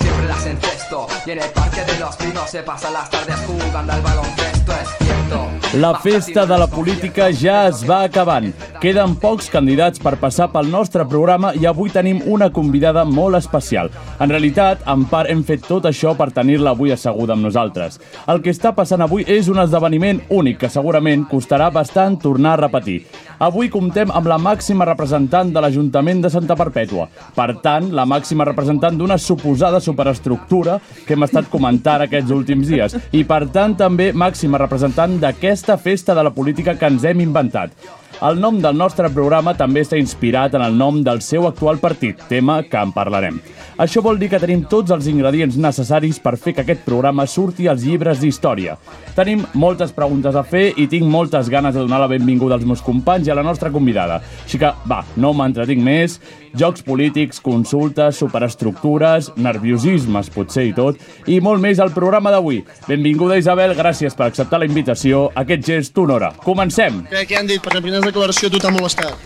Siempre las encesto. Y en el parque de los pinos se pasan las tardes jugando al baloncesto, es cierto. La festa de la política ja es va acabant. Queden pocs candidats per passar pel nostre programa i avui tenim una convidada molt especial. En realitat, en part hem fet tot això per tenir-la avui asseguda amb nosaltres. El que està passant avui és un esdeveniment únic que segurament costarà bastant tornar a repetir. Avui comptem amb la màxima representant de l'Ajuntament de Santa Perpètua. Per tant, la màxima representant d'una suposada superestructura que hem estat comentant aquests últims dies. I per tant, també màxima representant d'aquesta festa de la política que ens hem inventat. El nom del nostre programa també està inspirat en el nom del seu actual partit, tema que en parlarem. Això vol dir que tenim tots els ingredients necessaris per fer que aquest programa surti als llibres d'història. Tenim moltes preguntes a fer i tinc moltes ganes de donar la benvinguda als meus companys i a la nostra convidada. Així que, va, no m'entretinc més. Jocs polítics, consultes, superestructures, nerviosismes, potser i tot, i molt més al programa d'avui. Benvinguda, Isabel, gràcies per acceptar la invitació. Aquest gest t'honora. Comencem! Crec que han dit, per la primera declaració tu t'ha molestat.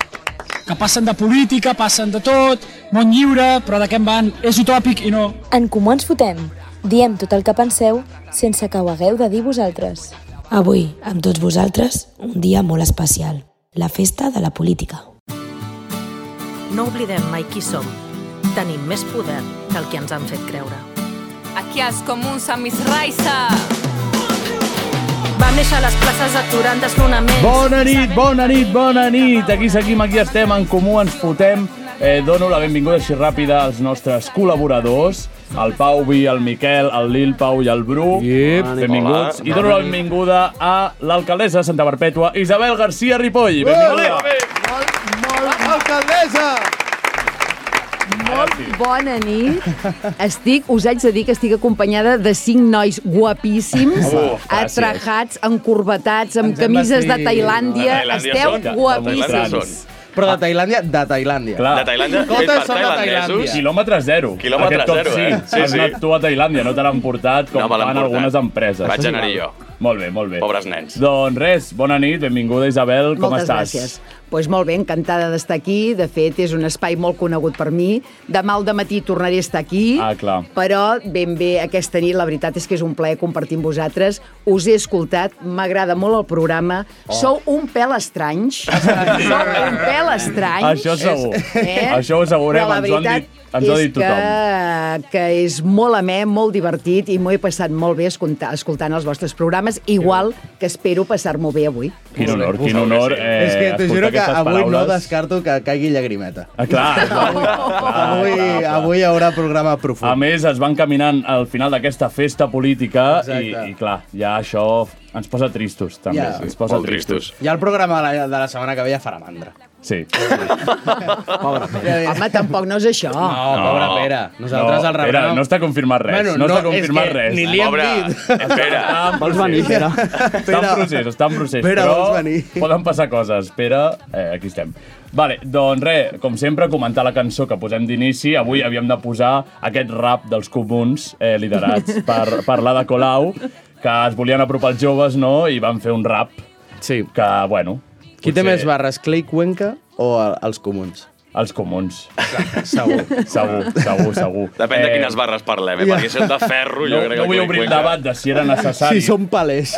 que passen de política, passen de tot, món lliure, però de què en van? És utòpic i no. En Comú Ens Fotem. Diem tot el que penseu sense que ho hagueu de dir vosaltres. Avui, amb tots vosaltres, un dia molt especial. La festa de la política. No oblidem mai qui som. Tenim més poder que el que ens han fet creure. Aquí els comuns a mis raisa. Vam néixer a les places aturant desnonaments. Bona nit, bona nit, bona nit! Aquí seguim, aquí estem, en comú ens fotem. Eh, dono la benvinguda així ràpida als nostres col·laboradors, el Pau Vi, el Miquel, el Lil Pau i el Bru. Yep. Benvinguts. I dono la benvinguda a l'alcaldessa de Santa Perpètua, Isabel García Ripoll. Benvinguda. Molt, molt, alcaldessa! Bona nit. Estic, us haig de dir que estic acompanyada de cinc nois guapíssims, Oh, gràcies. atracats, encorbatats, amb camises de Tailàndia. Esteu guapíssims. Però de Tailàndia, de Tailàndia. Clar. De Tailàndia, Totes fet per són de tailandesos. Tailàndia. Quilòmetre zero. Quilòmetre Aquest cop zero, sí. eh? Sí, Has sí. anat tu a Tailàndia, no te l'han portat com No me l'han fan portat. algunes empreses. Vaig anar-hi jo. Molt bé, molt bé. Pobres nens. Doncs res, bona nit, benvinguda Isabel, com Moltes estàs? gràcies. Pues molt bé, encantada d'estar aquí. De fet, és un espai molt conegut per mi. Demà al matí tornaré a estar aquí. Ah, clar. Però ben bé aquesta nit, la veritat és que és un plaer compartir amb vosaltres. Us he escoltat, m'agrada molt el programa. Oh. Sou un pèl estranys. Sou un pèl estranys. eh? Això segur. Això ho assegurem, Però la ens ho han veritat dit- ens ho ha és dit tothom. Que, que és molt amè, molt divertit i m'ho he passat molt bé escolta- escoltant els vostres programes, igual que espero passar-m'ho bé avui. Quin honor, quin honor. Eh, és que t'ho escoltar juro que aquestes avui no paraules. descarto que caigui llagrimeta. Ah, clar, clar, clar, avui, clar, clar. avui hi haurà programa A profund. més, es van caminant al final d'aquesta festa política i, Exacte. i, clar, ja això ens posa tristos, també. Ja. Ens posa Molt tristos. Ja el programa de la, de la setmana que ve ja farà mandra. Sí. Pobre Pere. Home, tampoc no és això. No, pobre Pere. Nosaltres el rebrem. Pere, no està confirmat res. Bueno, no, no, està és confirmat que res. ni li- Pobre, Li hem espera. Està en Vols procés. venir, Pere? Està en Pere. procés, està en procés. Pere, però vols venir? poden passar coses. Pere, eh, aquí estem. Vale, doncs res, com sempre, comentar la cançó que posem d'inici. Avui havíem de posar aquest rap dels comuns eh, liderats per, per l'Ada Colau, que es volien apropar als joves, no?, i van fer un rap Sí. que, bueno... Qui té potser més barres, Clay Cuenca o el- els comuns? Els comuns. Segur. Segur, segur, segur. Depèn de quines barres parlem, eh? Perquè si és de ferro, No, jo crec que... no vull el obrir el Cuenca- debat de si era necessari Si som palers.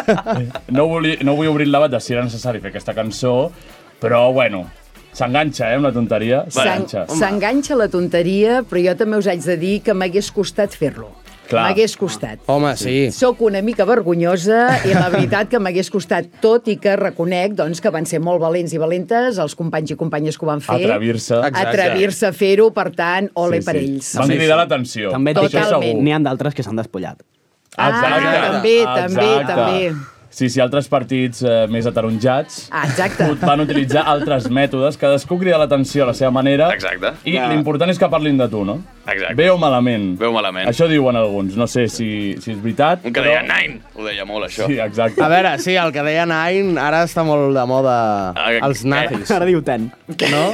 no, voli, no vull obrir el debat de si era necessari fer aquesta cançó, però, bueno, s'enganxa, eh, amb la tonteria. S'en- S'enganxa. S'enganxa la tonteria, però jo també us haig de dir que m'hagués costat fer-lo. Clar. M'hagués costat. Home, sí. Soc una mica vergonyosa i la veritat que m'hagués costat, tot i que reconec doncs, que van ser molt valents i valentes els companys i companyes que ho van fer. Atrevir-se. Exacte. Atrevir-se a fer-ho, per tant, ole sí, per ells. Van cridar l'atenció. et dic Això que segur. n'hi ha Ah, Exacte. també, també, Exacte. també. Sí, sí, altres partits eh, més ataronjats Ah, exacte. ut- van utilitzar altres mètodes, cadascú crida l'atenció a la seva manera. Exacte. I l'important és que parlin de tu, no? Exacte. Bé o malament. Veu malament. Això diuen alguns, no sé si, si és veritat. Un que deia Nine, ho deia molt, això. Sí, exacte. A veure, sí, el que deia Nine ara està molt de moda Ah, els nazis. Ara diu tant. No?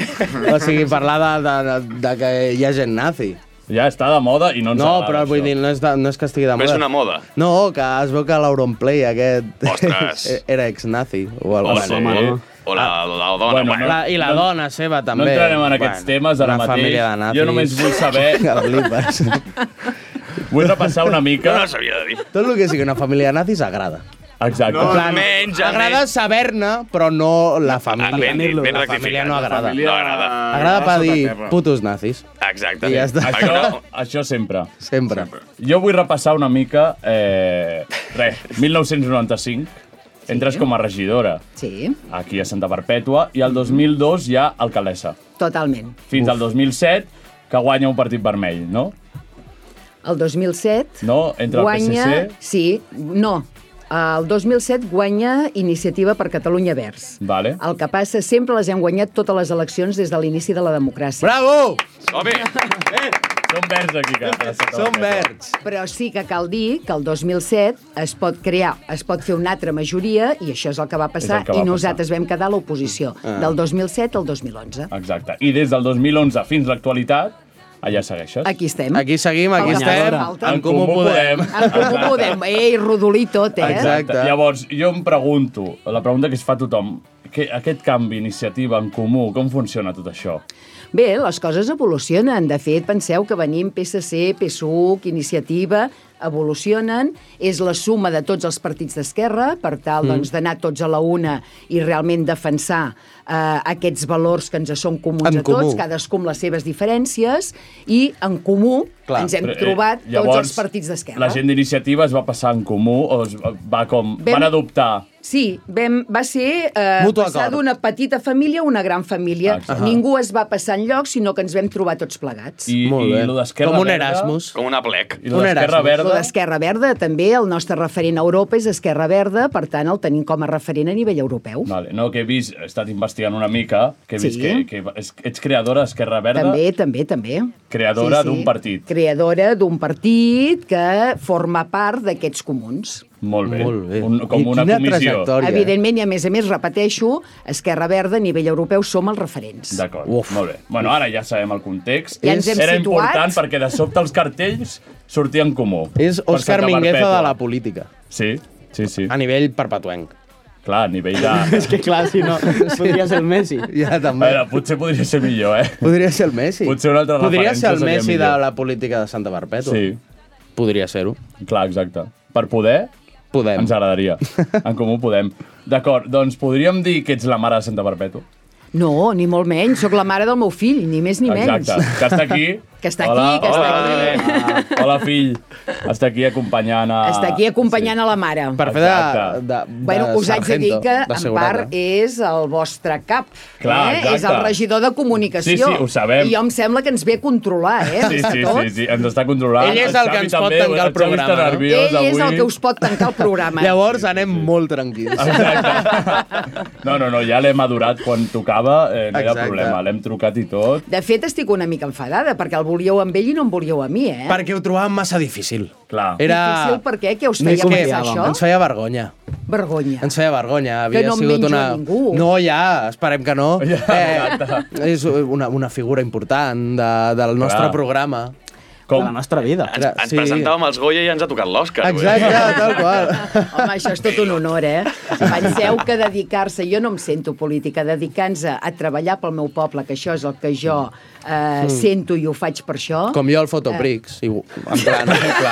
O sigui, parlar de, de, de, de que hi ha gent nazi. Ja està de moda i no ens No, agrada, però vull Doncs això. dir, no és, de, no és que estigui de No moda. és una moda. No, que es veu que l'Auronplay aquest e-, Ostres. era ex-nazi. O O, Ah, algo sí. o la, la, la dona. Bueno, la, I la no- dona seva, també. No entrarem en aquests temes ara una mateix. família de nazis. Jo només vull Que saber- flipes. Vull repassar una mica... No s'havia de dir. Tot el que sigui una família de nazis agrada. Exacte. No, almenys, agrada saber-ne, però no la família. Ah, Ben dit, ben la rectificat. família no agrada. No agrada. Agrada per dir putos nazis. Exacte. I ja està. Això, això sempre. Sempre. Jo vull repassar una mica... Eh, res, 1995. Entres com a regidora. Sí. Aquí a Santa Perpètua. I el 2002 ja alcaldessa. Totalment. Fins al 2007, que guanya un partit vermell, no? El 2007 No? Entre guanya... el PSC... Sí, no. El 2007 guanya Iniciativa per Catalunya Verds. Vale. El que passa, sempre les hem guanyat totes les eleccions des de l'inici de la democràcia. Bravo! Som-hi! Eh! Som verds aquí. Que, Som verds. Però sí que cal dir que el 2007 es pot crear, es pot fer una altra majoria, i això és el que va passar, que va i nosaltres vam quedar a l'oposició, Ah. del 2007 al 2011. Exacte. I des del 2011 fins a l'actualitat, allà segueixes. Aquí estem. Aquí seguim, aquí Falta, estem. falta. En Comú Podem. En Comú Podem, eh? ei, rodolí tot, eh? Llavors, jo em pregunto, la pregunta que es fa a tothom, que aquest canvi, iniciativa en comú, com funciona tot això? Bé, les coses evolucionen. De fet, penseu que venim PSC, PSUC, Iniciativa, evolucionen, és la suma de tots els partits d'esquerra, per tal Mm. doncs, d'anar tots a la una i realment defensar eh, aquests valors que ens són comuns En a tots, comú. cadascú amb les seves diferències, i en comú Clar, ens hem Però, eh, trobat llavors, tots els partits d'esquerra. La gent d'iniciativa es va passar en comú o es va com... Vam- Van adoptar... Sí, vam, va ser eh, Mutu passar acord. d'una petita família a una gran família. Exacte. Ningú es va passar enlloc, sinó que ens vam trobar tots plegats. I, Molt i bé. lo d'Esquerra Com un Verda- Erasmus. Com una plec. I lo d'Esquerra Lo Verda... d'Esquerra Verda, també, el nostre referent a Europa és Esquerra Verda, per tant, el tenim com a referent a nivell europeu. Vale, no, que he vist, he estat investigant una mica, que he vist Sí. que, que es- ets creadora d'Esquerra Verda, També, també, també. creadora d'un partit. Creadora d'un partit que forma part d'aquests comuns. Molt bé. Molt bé. Un, com I una quina comissió. trajectòria, Evidentment, i a més a més, repeteixo, Esquerra Verda, a nivell europeu, som els referents. D'acord, molt bé. Bueno, ara ja sabem el context. Ja ens hem Era situat. important perquè de sobte els cartells sortien comú. És Per Òscar Santa Mingueza Perpètua. de la Ah. política. Sí, sí, sí. A nivell perpetuenc. Clar, a nivell de... és que clar, si no, podria ser el Messi. Ja, A també. veure, potser podria ser millor, eh? Podria ser el Messi. Potser una altra Podria referència ser el seria Messi de millor. la política de Santa Perpètua. Sí. Podria ser-ho. Clar, exacte. Per poder... Podem. Ens agradaria. En comú podem. D'acord, doncs podríem dir que ets la mare de Santa Perpètua. No, ni molt menys. Sóc la mare del meu fill, ni més ni menys. Exacte. Que està aquí. Que està aquí, que està aquí. hola, aquí. Hola, fill. Està aquí acompanyant a... Està aquí acompanyant sí. a la mare. Per fer de- Exacte. de- de bueno, us haig de dir sargento, que, de en segurata. part, és el vostre cap. Clar, eh? exacte. És el regidor de Sí, comunicació. sí, ho sabem. I jo em sembla que ens ve a controlar, eh? Sí, a sí, sí, tots. sí, ens està controlant. Ell és el que Xavi ens pot també, tancar el Xavi està programa, no? nerviós Ell avui. és el que us pot tancar el programa. Llavors anem molt tranquils. Ah. No, no, no, ja l'hem adorat quan tocava, eh, no hi ha Exacte. problema, l'hem trucat i tot. De fet, estic una mica enfadada, perquè el volíeu amb ell i no em volíeu a mi, eh? Perquè ho trobàvem massa difícil. Clar. Era... Difícil per què? Què us feia Més que pensar, això? Ens feia vergonya. Vergonya. Ens feia vergonya. Havia no em sigut menjo una... a ningú. No, ja, esperem que no. Ja, eh, és una, una figura important de, del nostre Clar. programa. Com? De la nostra vida. Ens, Ens sí. presentàvem els Goya i ja ens ha tocat l'Òscar. vull dir. Exacte, tal qual. Home, això és tot un honor, eh? Penseu que dedicar-se, jo no em sento política, dedicar-nos a treballar pel meu poble, que això és el que jo eh, Mm. sento i ho faig per això... Com jo al Fotoprix. I, en plan, clar.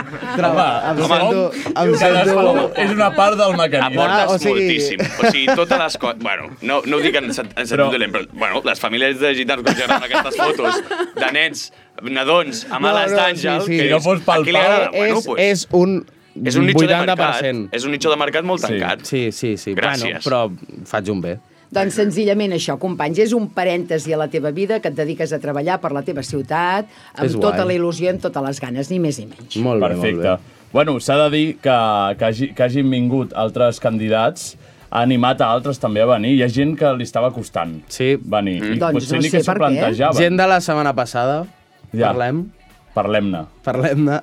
em sento- em Cadascú sento- Ah, és una part del mecanisme. Aportes o sigui... moltíssim. O sigui, totes les coses... Bueno, no, no ho dic en, sen- en sentit però... dolent, però bueno, les famílies de gitans que generen aquestes fotos de nens, nadons, amb No, ales no, d'àngel... sí, sí. que Si no fos pel a qui li pal, agrada? eh, és- és un és un nicho de 80%. mercat. És un nicho de mercat molt tancat. Sí, sí, sí. Gràcies. Bueno, però faig un bé. Doncs senzillament això, companys, és un parèntesi a la teva vida que et dediques a treballar per la teva ciutat, amb És guai. tota la il·lusió, amb totes les ganes, ni més ni menys. Molt bé, Perfecte. molt bé. Bueno, s'ha de dir que, que, hagi, que hagin vingut altres candidats ha animat a altres també a venir. Hi ha gent que li estava costant sí. venir. Mm. I Doncs potser no ni sé que s'ho per què. plantejava. Gent de la setmana passada, ja. parlem. Parlem-ne. Parlem-ne.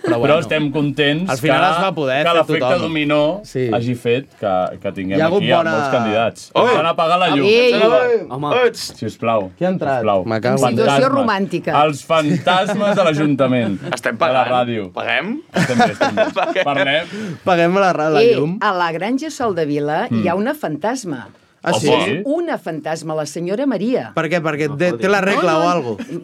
Però, bueno. Però estem contents Al final que, es va poder que fer l'efecte tothom. dominó sí. hagi fet que, que tinguem Hi ha hagut aquí bona- a molts candidats. Oi! Oh! Ens han apagat la llum. Ei! Ens han apagat- Oi! Home. Sisplau. Qui ha entrat? M'acabo. Situació romàntica. Els fantasmes de l'Ajuntament. Estem pagant. De la ràdio. Paguem? Estem bé, estem bé. Parlem. Paguem la, la Eh, llum. a la Granja Sol de Vila Mm. hi ha una fantasma. Ah, sí? És Una fantasma, la senyora Maria. Per què? Perquè té, té la regla No, no. o alguna cosa.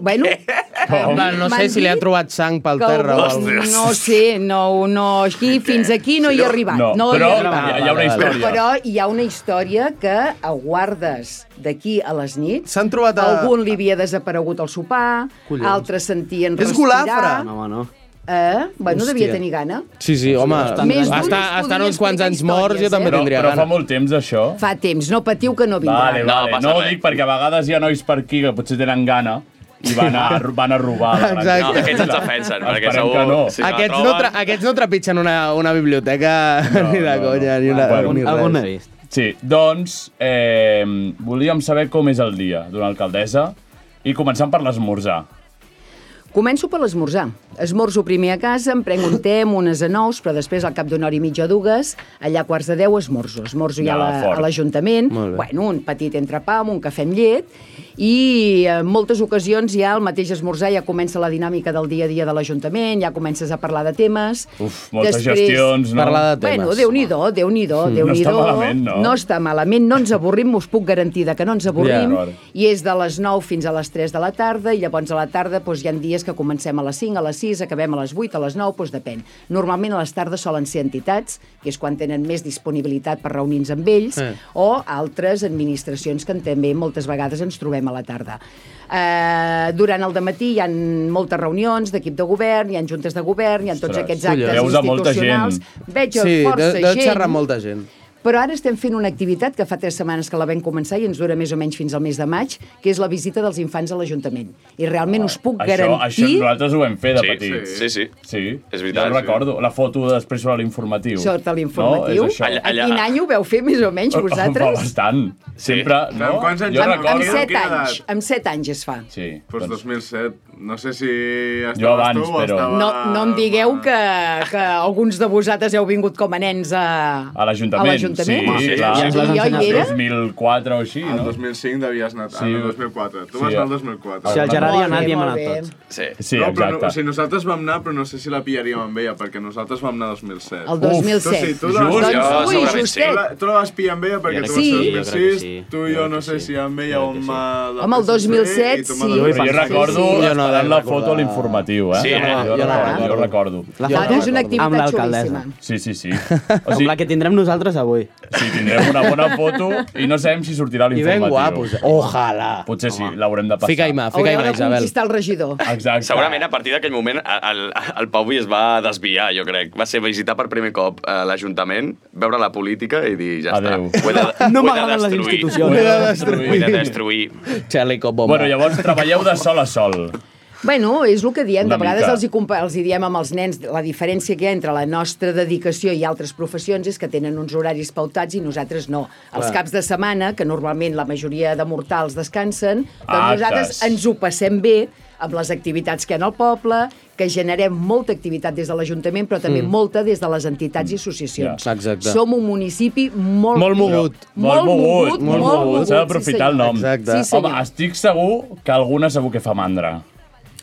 Bueno, En plan, no sé m'han si li ha dit trobat sang pel que terra o algú- alguna cosa. No sé, no, no, aquí, fins aquí no hi he arribat. No, No, però hi he arribat. hi ha- hi ha una història. Però, però hi ha una història que a guardes d'aquí a les nits. S'han trobat a- Algun li havia desaparegut el sopar, Collons. altres sentien És respirar. golafre! home, no. Eh? Bueno, Hòstia. devia Hòstia. tenir gana. Sí, sí, home. Bastant Més gran. Està, d'uns estan podrien uns quants anys morts, jo històries, també eh? tindria però gana. fa molt temps, això. Fa temps, no patiu que no vindrà. Vale, vale. No, ho dic perquè a vegades hi ha nois per aquí que potser tenen gana i van a, van a robar. la Exacte. granja. No, aquests ens defensen, perquè Esperem segur- que no. si Aquests eh? no, tra aquests no trepitgen una, una biblioteca ni de conya, ni una... ni res. vist. Sí, doncs, eh, volíem saber com és el dia d'una alcaldessa i començant per l'esmorzar. Començo per l'esmorzar. Esmorzo primer a casa, em prenc un te amb unes a nous, però després al cap d'una hora i mitja o dues, allà a quarts de deu esmorzo. Esmorzo Ah, ja, a la- fort. a l'Ajuntament, Molt bé. bueno, un petit entrepà amb un cafè amb llet, i eh, en moltes ocasions ja al mateix esmorzar ja comença la dinàmica del dia a dia de l'Ajuntament, ja comences a parlar de temes... Uf, moltes gestions, no? Parlar de temes. Bueno, Déu-n'hi-do, Déu-n'hi-do, Mm. déu nhi No està malament, no? No està malament, no ens avorrim, us puc garantir de que no ens avorrim. Ja. I és de les 9 fins a les 3 de la tarda, i llavors a la tarda doncs, hi ha dies que comencem a les 5, a les 6, acabem a les 8, a les 9, doncs depèn. Normalment a les tardes solen ser entitats, que és quan tenen més disponibilitat per reunir-nos amb ells, Eh. o altres administracions que en- també moltes vegades ens trobem a la tarda. Eh, durant el matí hi ha moltes reunions d'equip de govern, hi ha juntes de govern, hi ha tots Ostres, aquests actes collons. Veus a molta gent. institucionals. Veig a sí, força deu, deu gent. xerrar amb molta gent. Però ara estem fent una activitat que fa tres setmanes que la vam començar i ens dura més o menys fins al mes de maig, que és la visita dels infants a l'Ajuntament. I realment us puc Això, això garantir... nosaltres ho vam fer de Sí, petits. sí, sí. Sí, és veritat. Jo ho recordo. La foto després sobre l'informatiu. Sota l'informatiu. No, és això. A quin any ho veu fer més o menys Fa vosaltres? bastant. Sempre, no? Amb quants anys jo era? Amb, amb recordo... set quina anys. Amb set anys es fa. Sí. doncs, Pues 2007. No sé si estaves Jo abans, tu o però- estava... No, Ah, no em digueu que, que alguns de vosaltres heu vingut com a nens a... A l'Ajuntament. A l'Ajuntament? Sí, Sí, clar. ja ens vas Jo hi ensenyar. era? 2004 o així, El no? 2005 devies anar... Sí. Sí. El 2004. Tu Sí, vas anar al eh. 2004. Sí, el Gerard hi ha anat Molt bé, i hem molt anat bé. tots. Sí, Sí, no, però, exacte. no, o sigui, nosaltres vam anar, però no sé si la pillaríem amb ella, perquè nosaltres vam anar 2007. El 2007. Tu, sí, tu Just, la vas- Doncs, jo ui, segurament sí. Tu la, tu la vas pillar amb ella perquè Jo tu crec que sí. vas ser 2006, Jo crec que sí. tu i jo no sé si amb ella o amb... eh, la Home, el PSC, 2007 i tu amb sí. el Però jo 2006. recordo sí. jo no Jo no la vaig foto a l'informatiu, eh? Sí, jo, jo no recordo, vaig jo recordo. La foto és una activitat amb l'alcaldessa. xulíssima. Sí, sí, sí. O sigui, com la que tindrem nosaltres avui. Sí, tindrem una bona foto i no sabem si sortirà a I l'informatiu. ben guapos. eh? Ojalà. Potser sí, l'haurem de passar. Fica ima, Haureu de conquistar el regidor. Exacte. Segurament a partir d'aquell moment el, el Pau es va desviar, jo crec. Va ser visitar per primer cop eh, l'Ajuntament, veure la política i dir, ja Adeu. està. Ho he de, No ho he de m'agraden les destruir. institucions. Ho he de Ho he de destruir. Ho he de destruir. Xaleco bomba. Bueno, llavors treballeu de sol a sol. Bueno, és el que diem. Una de vegades mica. els hi, compa- els hi diem amb els nens la diferència que hi ha entre la nostra dedicació i altres professions és que tenen uns horaris pautats i nosaltres no. Els Clar. caps de setmana, que normalment la majoria de mortals descansen, doncs Actes. nosaltres ens ho passem bé amb les activitats que hi ha al poble, que generem molta activitat des de l'Ajuntament, però també Mm. molta des de les entitats i associacions. Exacte. Som un municipi molt... Molt mogut. Molt mogut, molt mogut. S'ha sí, d'aprofitar el senyor. nom. Sí, senyor. Home, estic segur que alguna segur que fa mandra.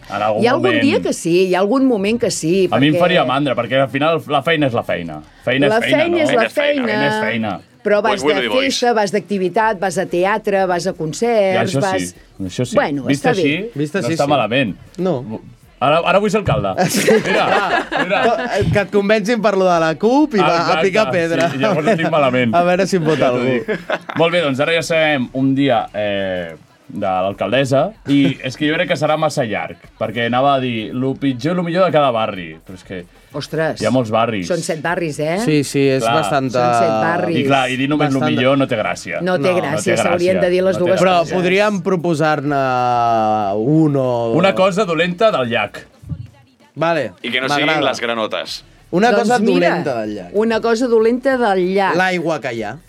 En algun Hi ha algun moment. dia que sí, hi ha algun moment que sí. A mi em faria mandra, perquè al final la feina és la feina. feina La és feina, feina no? és la feina. Feina és feina. Però vas Pues de Willy Boys. festa, vas d'activitat, vas a teatre, vas a Ja, concerts, això vas... sí. Això sí. Bueno, Vist està així, bé. Vist no així, està sí. malament. No. Ara, ara vull ser alcalde. eh, Que et convencin per lo de la CUP i va a Ah, Exacte, picar pedra. Sí, llavors ho tinc malament. A veure si em vota Ja t'ho algú. dic. Molt bé, doncs ara ja sabem un dia eh, de l'alcaldessa i és que jo crec que serà massa llarg, perquè anava a dir el pitjor i el millor de cada barri, però és que Ostres. hi ha molts barris. Són set barris, eh? Sí, sí, és Clar. bastant... eh, Són set barris. I clar, i dir només el Bastant- millor no té gràcia. No té gràcia, s'haurien de dir les no té dues Però gràcia. podríem proposar-ne un o... Una cosa dolenta del llac. Vale. I que no siguin m'agrada. les granotes. Una Doncs cosa mira, dolenta del llac. Una cosa dolenta del llac. L'aigua que hi ha.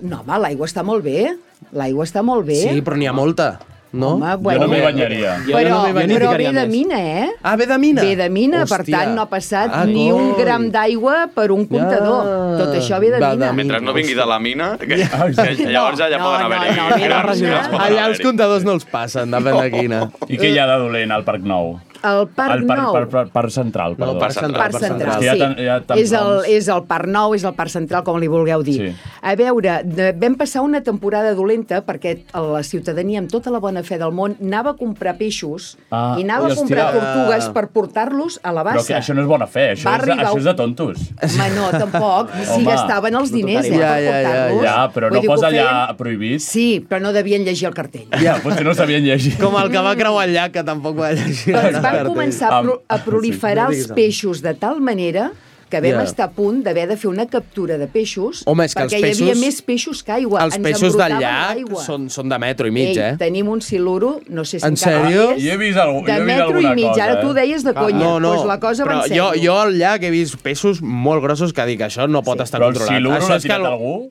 No, home, l'aigua està molt bé. L'aigua està molt bé. Sí, però n'hi ha molta. No? Home, bueno. m'hi banyaria. Però, però ve de mina, eh? Ah, ve de mina? Ve de mina, per Hòstia. tant no ha passat Ah, ni un coi. gram d'aigua per un comptador. Tot això ve de Va, de mina. Mentre no vingui de la mina, que, Ah, que llavors allà poden haver-hi... no, ve de grans, mina. grans poden Allà haver-hi. els comptadors no els passen, depèn de quina. I què hi ha de dolent al Parc Nou? El Parc al parc, Nou. Parc, parc, parc Central, perdó. Parc Central, Parc Central, És que hi ha sí. tan- hi ha tants és, el, noms. és el Parc Nou, és el Parc Central, com li vulgueu dir. Sí. A veure, de, vam passar una temporada dolenta perquè la ciutadania, amb tota la bona fe del món, anava a comprar peixos Ah, i anava ui, a comprar hòstia. tortugues per portar-los a la Però bassa. que això no és bona fe, això, Va és, de- arribar això un- és de tontos. Home, no, tampoc. Si Home. gastaven els diners, eh, Ja, per ja, ja, portar-los. ja, però Vull no dir que ho posa feien- allà prohibit. Sí, però no devien llegir el cartell. Ah, Ja, potser no sabien llegir. Com el que va creuar el llac, que tampoc va llegir. Doncs van començar a, pro a proliferar ah, No els diguis amb. peixos de tal manera que vam Ja. estar a punt d'haver de fer una captura de peixos Home, és que els perquè hi havia peixos- més peixos que aigua. Els Ens peixos del embrutaven llac l'aigua. són, són de metro i mig, Ei, eh? tenim un siluro, no sé si En encara sèrio? és, Jo he vist algú- de jo he vist metro alguna i mig. cosa, Ara eh? tu ho deies de conya, no, no, doncs la cosa va però en jo, sèrio. jo al llac he vist peixos molt grossos que dic, això no pot estar Però el controlat. siluro Això l'ha és que tirat el- algú?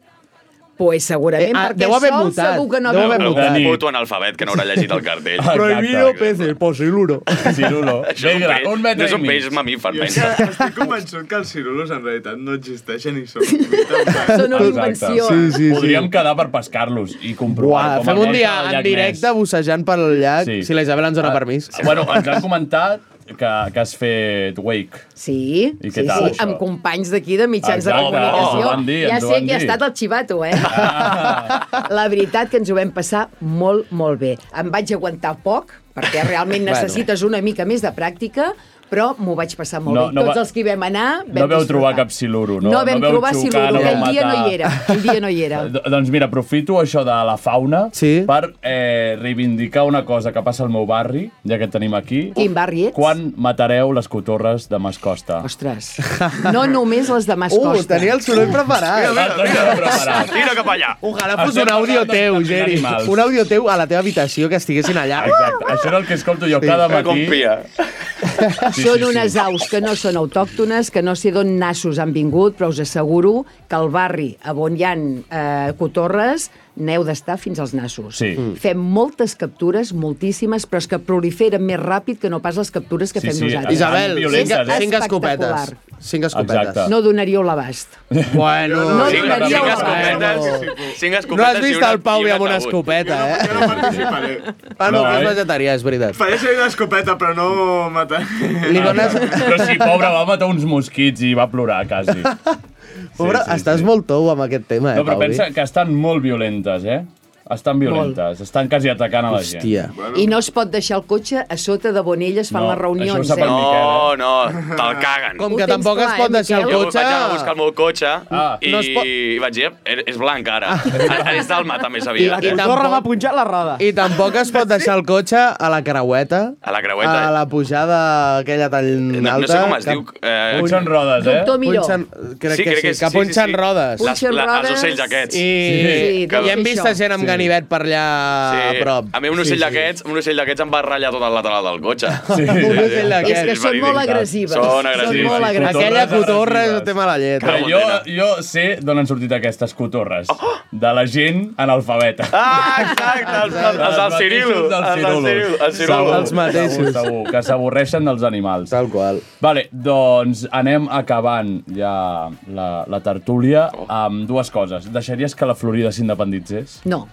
Pues segurament, Eh, ah, perquè deu haver sol mutat, segur que no deu haver havia Algun mutat. puto analfabet que no haurà llegit el cartell. Prohibido peces, por siluro. Siluro. Això és un Vinga, peix, un metre no és i un mig. peix mamífer, Jo pensa. estic- estic convençut que els cirulos en realitat no existeixen i són... Són una invenció. Sí, sí, sí. Podríem quedar per pescar-los i comprovar Uà, com fem el un dia llac- el en llac directe bussejant pel llac, sí. si la Isabel ens dona Ah, permís. Bueno, ens han comentat que, que has fet Wake. Sí, I què sí, tal, sí, això? amb companys d'aquí de mitjans Exacte, de comunicació. ens ho van dir, ja ens ho sé van qui ha dir. Ah. estat el xivato, eh? La veritat que ens ho vam passar molt, molt bé. Em vaig aguantar poc, perquè realment Bueno. necessites una mica més de pràctica, però m'ho vaig passar molt No, bé. no Tots va- els que hi vam anar... No veu trobar cap siluro, no? No vam veu trobar xocar, siluro, veu aquell dia no matar. hi era. El dia no hi era. Do- Doncs mira, aprofito això de la fauna sí? per eh, reivindicar una cosa que passa al meu barri, ja que et tenim aquí. Quin barri ets? Quan matareu les cotorres de Mascosta? Ostres. No només les de Mascosta. Uh, tenia el soroll preparat. Ah, Mira, mira, doncs mira. Tira cap allà. Ojalà fos un àudio teu, Geri. Un àudio teu a la teva habitació, que estiguessin allà. Exacte. Això era el que escolto jo cada matí. Sí, són sí, unes sí. aus que no són autòctones, que no sé d'on nassos han vingut, però us asseguro que al barri a on hi ha eh, cotorres n'heu d'estar fins als nassos. Sí. Mm. Fem moltes captures, moltíssimes, però és que proliferen més ràpid que no pas les captures que Sí, fem sí, nosaltres. Isabel, cinc, És cinc espectacular. escopetes. Cinc escopetes. eh? Exacte. No donaríeu l'abast. Bueno, No cinc, donaria cinc una escopetes, cinc escopetes No has i vist una- el Pau i i un amb una ataúd. escopeta, eh? Jo no participaré. Ah, no, No, que és eh? vegetarià, és veritat. Faré servir una escopeta, però no matar. Li dones... Ah, Però sí, pobre, va matar uns mosquits i va plorar, quasi. Pobre, estàs molt tou amb aquest tema, eh, No, però Pau? pensa que estan molt violentes, eh? Estan violentes, estan quasi atacant a la gent. Hòstia. I no es pot deixar el cotxe a sota de on elles fan No, eh? les reunions. eh? això ho sap el Miquel, No, no, te'l caguen. Com que Ho tens tampoc clar, es pot eh, deixar el Jo cotxe? vaig anar a buscar el meu cotxe Ah. i, No no es pot- pot... i vaig dir, "Eh, és blanc ara. Ah. És del mata més aviat. va punxar la roda. I tampoc es pot deixar el cotxe a la creueta. A la creueta. eh. A la pujada aquella tan alta. No, no sé com es diu. Eh, Punxen rodes, eh? Doctor Miró. Punxen- crec que sí, que punxen rodes. Les, Punxen la, rodes. els ocells aquests. I, sí, Que- i hem vist gent amb ganivet per allà a prop. A mi un ocell d'aquests, un ocell d'aquests em va ratllar tot el lateral del cotxe. Sí, Un ocell d'aquests. És que són molt agressives. Són Són agressives. molt agressives. Aquella cotorra és el tema de la llet. Que jo, jo sé d'on han sortit aquestes cotorres. Oh! De la gent analfabeta. Ah, exacte, els, els, els del Cirilo. Els del Cirilo. Els Cirilo. Els mateixos. Segur, segur, que s'avorreixen dels animals. Tal qual. Vale, doncs anem acabant ja la, la tertúlia amb dues coses. Deixaries que la Florida s'independitzés? No.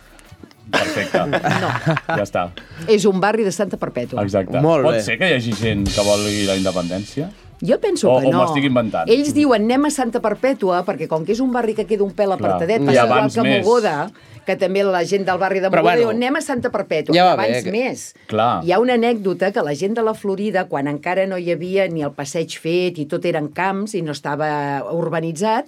Perfecte. No. Ja està, És un barri de Santa Perpètua. exacte. Pot ser que hi hagi gent que vulgui la independència? Jo penso O- que o no. m'estic inventant. Ells diuen anem a Santa Perpètua, perquè com que és un barri que queda un pèl apartadet, I passa igual abans que més. Mogoda, que també la gent del barri de Però Mogoda bueno, bueno, diu anem a Santa Perpètua, ja va abans bé, que- més. Clar. Hi ha una anècdota que la gent de la Florida, quan encara no hi havia ni el passeig fet i tot eren camps i no estava urbanitzat,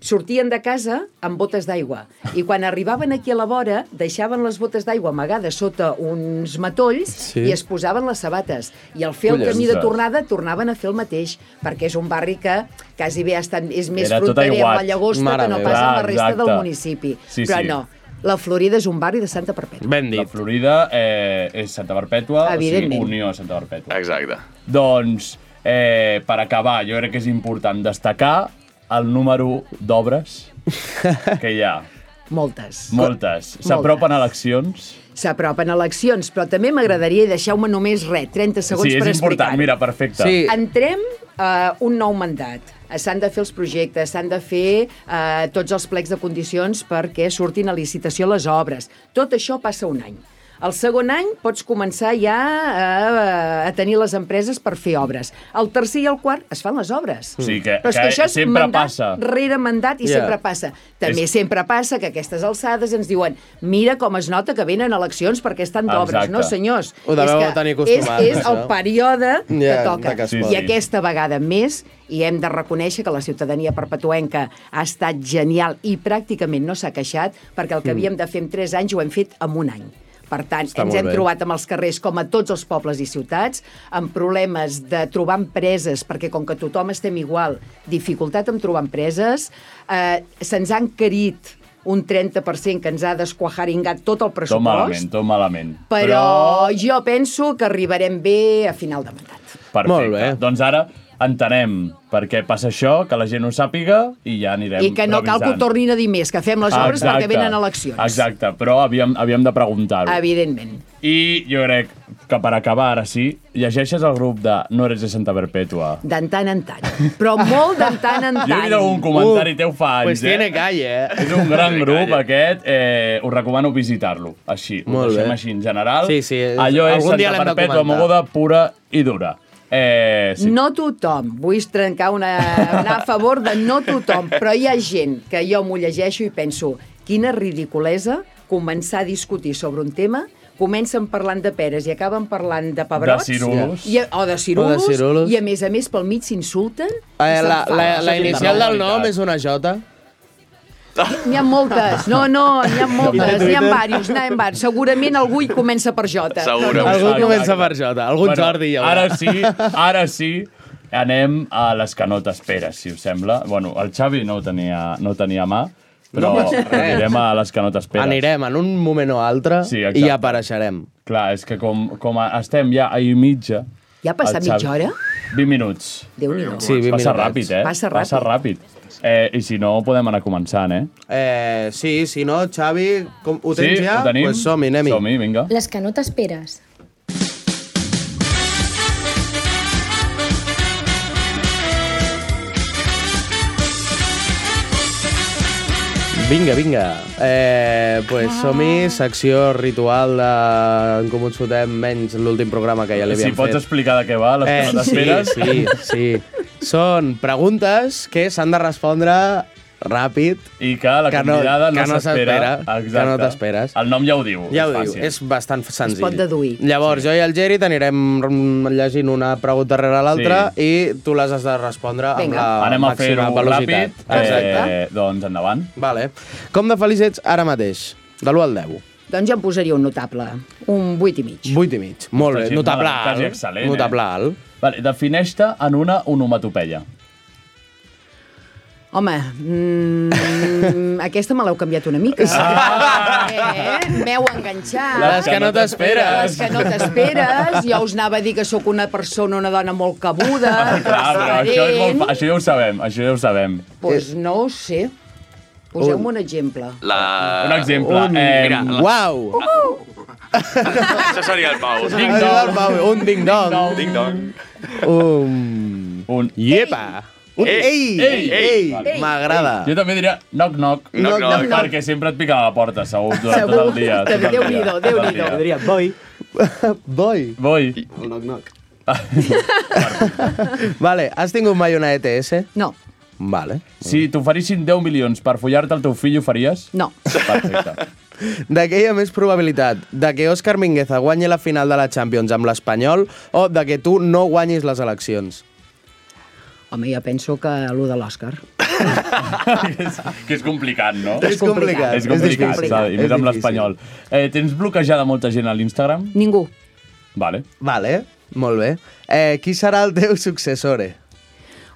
sortien de casa amb botes d'aigua. I quan arribaven aquí a la vora, deixaven les botes d'aigua amagades sota uns matolls Sí. sí. i es posaven les sabates. I al fer el Collons. camí de tornada tornaven a fer el mateix, perquè és un barri que quasi bé ha estat, és més Era tot fronterer amb la aiguat. Llagosta Mare que no meva. pas amb la Ah, resta exacte. del municipi. Sí, Però sí. no, la Florida és un barri de Santa Perpètua. Ben dit. La Florida eh, és Santa Perpètua, o sigui, Evidentment. Uh, Unió a Santa Perpètua. Exacte. Doncs eh, per acabar, jo crec que és important destacar el número d'obres que hi ha. Moltes. Moltes. S'apropen eleccions. S'apropen eleccions, però també m'agradaria, i deixeu-me només res, 30 segons sí, és per important. explicar. Mira, perfecte. Entrem a un nou mandat. S'han de fer els projectes, s'han de fer eh, tots els plecs de condicions perquè surtin a licitació les obres. Tot això passa un any. El segon any pots començar ja a, a tenir les empreses per fer obres. El tercer i el quart es fan les obres. Sí, que- Però és que, que això és sempre mandat passa. rere mandat i Ja. sempre passa. També És- sempre passa que a aquestes alçades ens diuen mira com es nota que venen eleccions perquè estan d'obres. Exacte. No, senyors. Ho deveu és que tenir és, acostumats, és el això. període que Ja, toca. de que es I pot. aquesta vegada més, i hem de reconèixer que la ciutadania perpetuenca ha estat genial i pràcticament no s'ha queixat, perquè el que Mm. Hmm. havíem de fer en 3 anys ho hem fet en un any. Per tant, Està molt ens hem bé. trobat amb els carrers, com a tots els pobles i ciutats, amb problemes de trobar empreses, perquè com que tothom estem igual, dificultat en trobar empreses, eh, se'ns han carit un 30% que ens ha desquajaringat tot el Tot pressupost, malament, tot malament. però jo penso que arribarem bé a final de mandat. Perfecte. Molt bé. Doncs ara entenem per què passa això, que la gent ho sàpiga i ja anirem I que no cal que ho revisant. tornin a dir més, que fem les obres Exacte. perquè venen eleccions. Exacte, però havíem, havíem de preguntar-ho. Evidentment. I jo crec que per acabar, ara sí, llegeixes el grup de No eres de Santa Perpètua. D'en tant en tant. Però molt d'en tant en Jo he vist tant. algun comentari teu fa anys, pues tiene eh? calle, eh? És un gran Tiene grup, calle. aquest. Eh, us recomano visitar-lo, així. Molt ho deixem bé. així, en general. Sí, sí, és- Allò és algun dia Santa l'hem de Perpètua, comentar. moguda pura i dura. Eh, sí. No tothom, vull trencar una... anar a favor de no tothom, però hi ha gent que jo m'ho llegeixo i penso quina ridiculesa començar a discutir sobre un tema comencen parlant de peres i acaben parlant de pebrots De cirulos. i, o de cirulos, O de cirulos. i a més a més pel mig s'insulten i Eh, la, s'enfaden. la, la inicial del nom és una J. N'hi ha moltes, no, no, n'hi ha I moltes, de n'hi ha Twitter? diversos, n'hi ha diversos. Segurament algú hi comença per Jota. Algú comença per J. Algun Bueno, Jordi. hi haurà. Ara sí, ara sí, anem a les que no t'esperes, si us sembla. Bueno, el Xavi no ho tenia, no ho tenia a mà, però No passa res. anirem a les que no t'esperes. Anirem en un moment o altre Sí, sí, exacte. i ja apareixerem. Clar, és que com, com a- estem ja a i mitja... Ja ha passat el Xavi- mitja hora? 20 minuts. Déu-n'hi-do. Sí, 20 Passa minutets. ràpid, eh? Passa Passa ràpid. Eh, I si no, podem anar començant, eh? Eh, sí, si no, Xavi, com, ho tens sí, ja? ho tenim? Pues som-hi, anem-hi. Som-hi, vinga. Les que no t'esperes. Vinga, vinga. Eh, pues som-hi, secció ritual de... En com ens fotem menys l'últim programa que ja l'havíem si pots fet. Eh, explicar de què va, les que no t'esperes. Sí, sí, sí. Són preguntes que s'han de respondre ràpid. I que la convidada no s'espera. Que no Exacte. t'esperes. El nom ja ho diu. és Ja ho diu, fàcil. és bastant senzill. pot deduir. Llavors, sí. jo i el Geri t'anirem mm, llegint una pregunta darrere l'altra sí. i tu les has de respondre amb la Anem a Ah, màxima fer-ho ràpid. velocitat. Exacte. Eh, doncs endavant. Vale. Com de feliç ets ara mateix? De l'1 al 10. Doncs jo em posaria un notable, un 8 i mig. 8 i mig. Molt bé. Quasi- Notable no, Quasi alt. excel·lent, Notable eh? alt. Vale, Defineix-te en una onomatopeia. Home, mm, aquesta me l'heu canviat una mica. Ah! Eh, M'heu enganxat. Les Ah, que no t'esperes. Les que no t'esperes. Jo us anava a dir que sóc una persona, una dona molt cabuda. Ah, Clar, però això, és molt, transparent. fa- això ja ho sabem, això ja ho sabem. Pues no ho sé. Poseu-me un exemple. La... Ah, Un exemple, Un- eh, Mira, la... Uau! Això seria el Pau. Ding dong. Un ding dong. Ding dong. Un... Un... Iepa! Un ei! Ei! ei. Eh, Vale. M'agrada. Jo també diria knock knock, Knock, knock. perquè sempre et pica a la porta, segur, durant Segur. tot el dia. Tot el dia, Déu-n'hi-do, tot el déu-n'hi-do. dia. Jo diria boi. Boi. Boi. El knock-knock. Vale, has tingut mai una ETS? No. Vale. Si t'oferissin 10 milions per follar-te el teu fill, ho faries? No. Perfecte. De què hi ha més probabilitat? De que Òscar Mingueza guanyi la final de la Champions amb l'Espanyol o de que tu no guanyis les eleccions? Home, jo penso que allò de l'Òscar. que és complicat, no? És complicat, És complicat, és difícil. s'ha de dir, i més És amb difícil. l'espanyol. Eh, tens bloquejada molta gent a l'Instagram? Ningú. Vale. Vale, molt bé. Eh, qui serà el teu successore?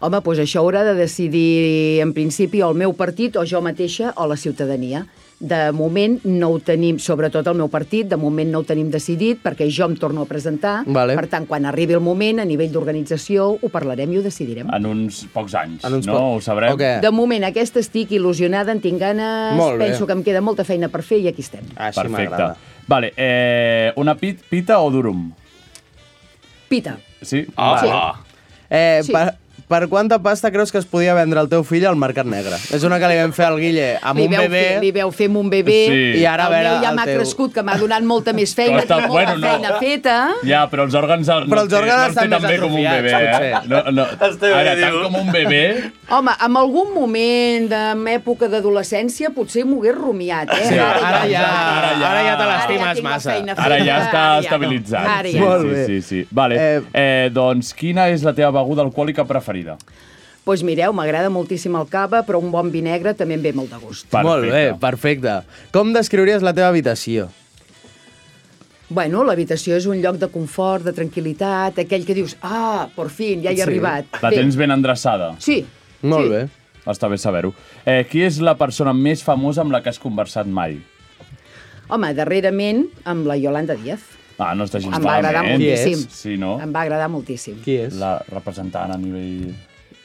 Home, doncs això haurà de decidir en principi o el meu partit o jo mateixa o la ciutadania. De moment no ho tenim, sobretot el meu partit, de moment no ho tenim decidit perquè jo em torno a presentar. Vale. Per tant, quan arribi el moment, a nivell d'organització, ho parlarem i ho decidirem. Ah, En uns pocs anys, en uns uns no? po- Ho sabrem. Okay. eh. De moment, aquesta estic il·lusionada, en tinc ganes, Molt bé. penso que em queda molta feina per fer i aquí estem. Ah, Perfecte. Vale, eh, una pit, pita o durum? Pita. Sí? Ah. Vale. Eh, Sí. sí. per, per quanta pasta creus que es podia vendre el teu fill al Mercat Negre? És una que li vam fer al Guille amb li un veu bebè... Fer, li veu fer amb un bebè. Sí. I ara a el veure meu ja el m'ha teu. crescut, que m'ha donat molta més feina, Però està- tinc molta bueno, no. feina feta. Ja, però els òrgans el, Però els no òrgans els té, estan no els té tan més bé com un atrofiats, bebè, eh? No, no. Ara, tant com un bebè... Home, en algun moment de època d'adolescència potser m'ho hagués rumiat, eh? Sí, Ara ara ja, ara ja. ja, ara ja te Ara ja l'estimes tinc la massa. feina Ara ja està Ara ja no. estabilitzat. Ara sí, ja. Molt sí, bé. sí, sí. Vale. Eh, eh, doncs quina és la teva beguda alcohòlica preferida? Doncs mireu, m'agrada moltíssim el cava, però un bon vi negre també em ve molt de gust. Perfecte. Molt bé, perfecte. Com descriuries la teva habitació? Bueno, l'habitació és un lloc de confort, de tranquil·litat, aquell que dius, ah, por fin, ja hi he arribat. La Bé, tens ben endreçada? Sí. Molt bé. Està bé saber-ho. Eh, qui és la persona més famosa amb la que has conversat mai? Home, darrerament amb la Yolanda Díaz. Ah, no està gens Em va agradar malament. moltíssim. Sí, no? Em va agradar moltíssim. Qui és? La representant a nivell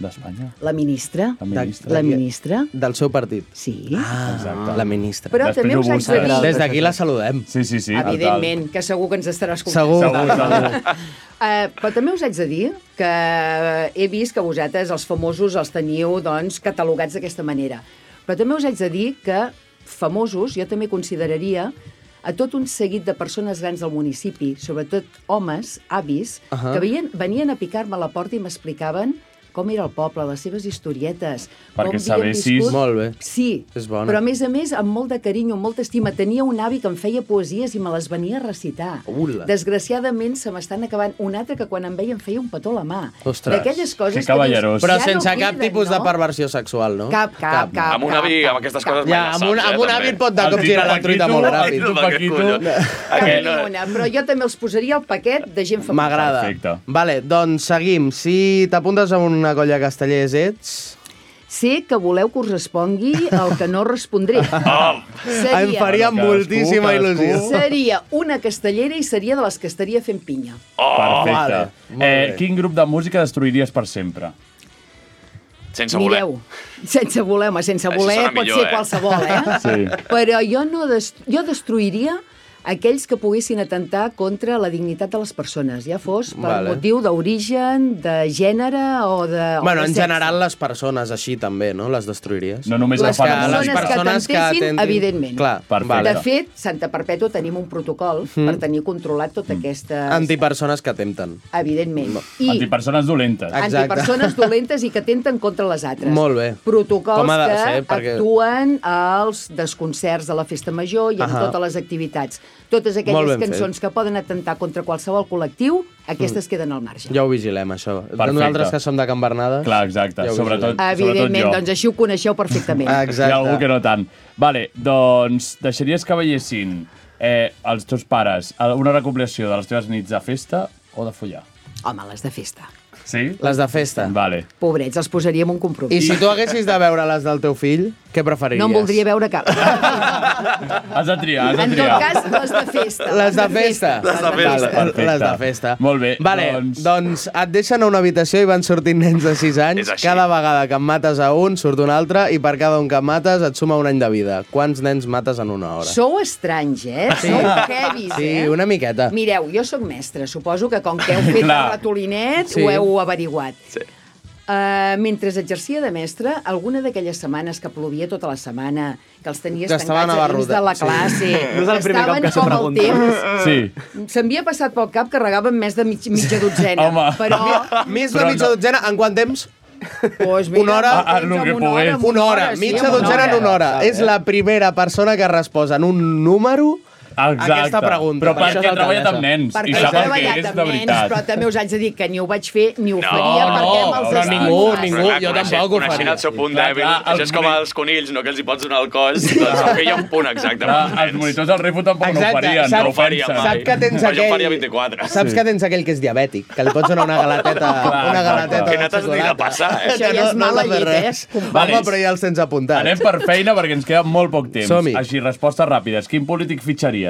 d'Espanya. La ministra. La ministra. La ministra. Del seu partit? Sí. Ah, Exacte. la ministra. Però també us haig de dir- Des d'aquí la saludem. Sí, sí, sí. Evidentment, que segur que ens estarà escoltant. Segur. Segur, segur. Eh, però també us haig de dir que he vist que vosaltres, els famosos, els teniu doncs, catalogats d'aquesta manera. Però també us haig de dir que famosos jo també consideraria a tot un seguit de persones grans del municipi, sobretot homes, avis, uh Ahà. -huh. que veien, venien a picar-me a la porta i m'explicaven com era el poble, les seves historietes, com Perquè havien sabessis- viscut... Molt bé. Sí, És bona. però a més a més, amb molt de carinyo, amb molta estima. Tenia un avi que em feia poesies i me les venia a recitar. Ula. Desgraciadament se m'estan acabant un altre que quan em veia em feia un petó a la mà. Ostres. D'aquelles coses que dius... Però ja sense no cap queden, tipus no? de perversió sexual, no? Cap, cap, cap, Amb un avi, amb aquestes coses, mai Ja, les amb un- saps, amb un eh, avi també. et pot de cop girar la truita molt El ràpid. Tito Paquito. Cap Aquell- ni una, però jo també els posaria el paquet de gent famosa. M'agrada. Perfecte. Vale, doncs seguim. Si t'apuntes a una colla de castellers, ets... Sé que voleu que us respongui el que no respondré. Oh. Em faria Bueno, cadascú, moltíssima cadascú. il·lusió. Seria una castellera i seria de les que estaria fent pinya. Oh, Perfecte. vale, molt eh, bé. quin grup de música destruiries per sempre? Sense Mireu, sense voler, home, sense Això voler sona pot millor, ser eh? qualsevol, eh? Sí. Però jo, no des jo destruiria aquells que poguessin atentar contra la dignitat de les persones, ja fos per Vale. vale. motiu d'origen, de gènere o de... o Bueno, de en sexe. general les persones així també, no? Les destruiries. No només les persones, les persones que t'entessin, evidentment. Clar, De fet, Santa Perpètua tenim un protocol Mm. mm. per tenir controlat Hmm. tota mm. aquesta... Antipersones que atempten. Evidentment. No. I Antipersones dolentes. antipersones dolentes i que atenten contra les altres. Molt bé. protocols Com ha de que ser, perquè- actuen als desconcerts de la festa major i en Ahà. totes les activitats. Totes Molt ben aquelles fet. Mm. cançons que poden atentar contra qualsevol col·lectiu, aquestes queden al marge. Ja ho vigilem, això. Perfecte. Nosaltres que som de Can Bernades... Clar, exacte, ho sobretot- vigilem. Evidentment, jo. doncs així ho coneixeu perfectament. Ah. Hi ha algú que no tant. Vale, doncs deixaries que veiessin eh, els teus pares a una recopilació de les teves nits de festa o de follar? Home, les de festa. Sí? Les de festa. Vale. Pobrets, els posaríem un I compromís. si tu haguessis de veure les del teu fill, què preferiries? No en voldria veure cap. Has de triar, has de En triar. tot cas, les de festa. Les de festa. Vale, perfecte. Les de festa. Molt bé. Vale, Doncs, doncs... doncs et deixen a una habitació i van sortint nens de 6 anys. Cada vegada que en mates a un, surt un altre, i per cada un que mates et suma un any de vida. Quants nens mates en una hora? Sou estranys, eh? Sí. Sou heavies, Sí, eh? una miqueta. Mireu, jo sóc mestre, suposo que com que heu fet el Clar. ratolinet Sí. ho heu averiguat. Sí. Uh, mentre exercia de mestre, alguna d'aquelles setmanes que plovia tota la setmana, que els tenies Que estaven tancats a dins abarrotats, de la sí. classe, No és el primer cop estaven que s'ho com el pregunto. temps... Sí. S'havia passat pel cap que regaven més de mig, mitja dotzena. Home. Però... Més de mitja dotzena, en quant temps? Pues mira, una hora, Ah, ah, lo que una pogués. hora, una hora, sí, mitja amb una dotzena en hora. una hora. És la primera persona que respon en un número Exacte. Aquesta pregunta. Però Per això perquè és ha treballat amb alcaldessa. nens Perquè i he sap el que treballat és amb de nens, veritat. Però també us haig de dir que ni ho vaig fer ni ho faria no, perquè amb els però estigmes- ningú, ningú, jo tampoc ho faria. Coneixent el seu punt Clar, dèbil, clar, això és com els conills, no que els hi pots donar el cos, doncs segur que hi ha un punt exacte. Clar, els monitors del Rifo tampoc no ho farien, sap, no ho farien mai. Sap que tens Però aquell... jo ho faria 24. Saps que tens aquell que és diabètic, que li pots donar una galateta, Clar, una clar, galateta clar. Que no de t'has ni de xocolata. passar, eh? Això ja és t'ha mala de llet, eh? res. Home, però ja els tens apuntats. Anem per feina perquè ens queda molt poc temps. Som-hi. Així, respostes ràpides. Quin polític fitxaries?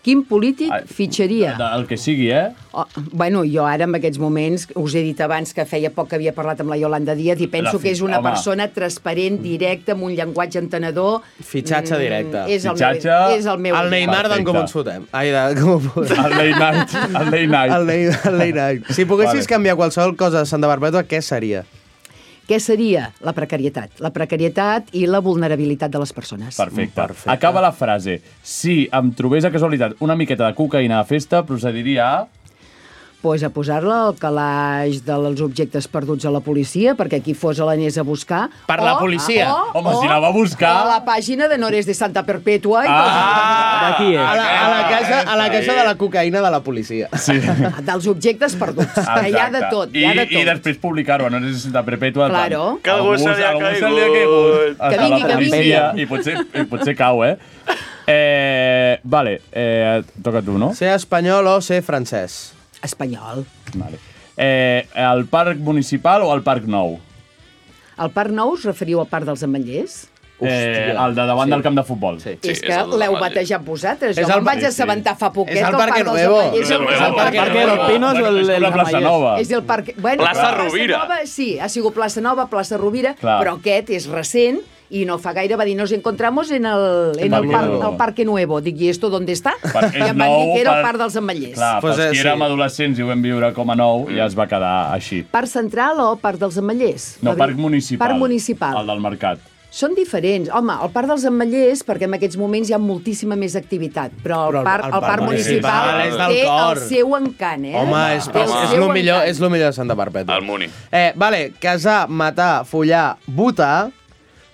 Quin polític fitxaria? El que sigui, eh? Oh, bueno, jo ara, en aquests moments, us he dit abans que feia poc que havia parlat amb la Yolanda Díaz i penso La fi- que és una home. persona transparent, directa, amb un llenguatge entenedor. Mm, Fitxatge directe. és el meu- Fitxatge- és el meu El Neymar Perfecte. d'en Com ens fotem. Ai, de Com ho fotem. El Neymar. El Neymar. El Neymar. El Neymar. Si poguessis Vale. canviar qualsevol cosa de Santa Barbètua, què seria? Què seria? La precarietat. La precarietat i la vulnerabilitat de les persones. Perfecte. Perfecte. Acaba la frase. Si em trobés a casualitat una miqueta de cocaïna a festa, procediria a... pues a posar-la al calaix dels objectes perduts a la policia, perquè qui fos a l'anés a buscar... Per la policia. O, Home, o, si la va buscar- O a la pàgina de Nores de Santa Perpètua. Ah! D'aquí és. A la, a la casa, a la Ah, casa eh. de la cocaïna de la policia. Sí. I dels objectes perduts. Que hi ha de tot, hi ha I, de I tot. després publicar-ho, no necessita perpètua. tant. Claro. Que algú se li ha algú se li ha caigut. Hasta Que vingui, la que vingui. policia. I potser, i potser cau, eh? Eh, vale, eh, toca tu, no? Ser espanyol o ser francès? Espanyol. Vale. Eh, el parc municipal o el parc nou? Al Parc Nou us referiu al Parc dels Ametllers? Eh, el de davant sí. del camp de futbol. Sí. Sí, és que l'heu batejat vosaltejat vosaltres. Jo És el me'n vaig Parc- assabentar fa poquet. És el que Parque Parc dels Nuevo. Ametllers És el era un Nuevo. parc El Parque enorme. del Pinos o el- Bueno, és com la el Plaça Ramayet? Nova. És el parc... Bueno, Plaça Rovira. Nova, sí, ha sigut Plaça Nova, Plaça Rovira, Clar. però aquest és recent i no fa gaire va dir, nos encontramos en el, en el, Parque parc, Nuevo. el Parque Nuevo. Dic, i esto dónde está? Parc- I és em van dir nou, que era el parc- Parc dels Ametllers. Clar, pues eh, pels sí. que érem adolescents i ho vam viure com a nou, ja es va quedar així. Parc Central o Parc dels Ametllers? No, La parc veri- municipal. Parc municipal. El del mercat. Són diferents. Home, el Parc dels Ametllers, perquè en aquests moments hi ha moltíssima més activitat, però el, parc, el, parc municipal, municipal és del té cor. el seu encant, eh? Home, és, Té el és, és, seu lo millor, encant. és lo millor de Santa Perpètua. El Muni. Eh, vale, casar, matar, follar, votar,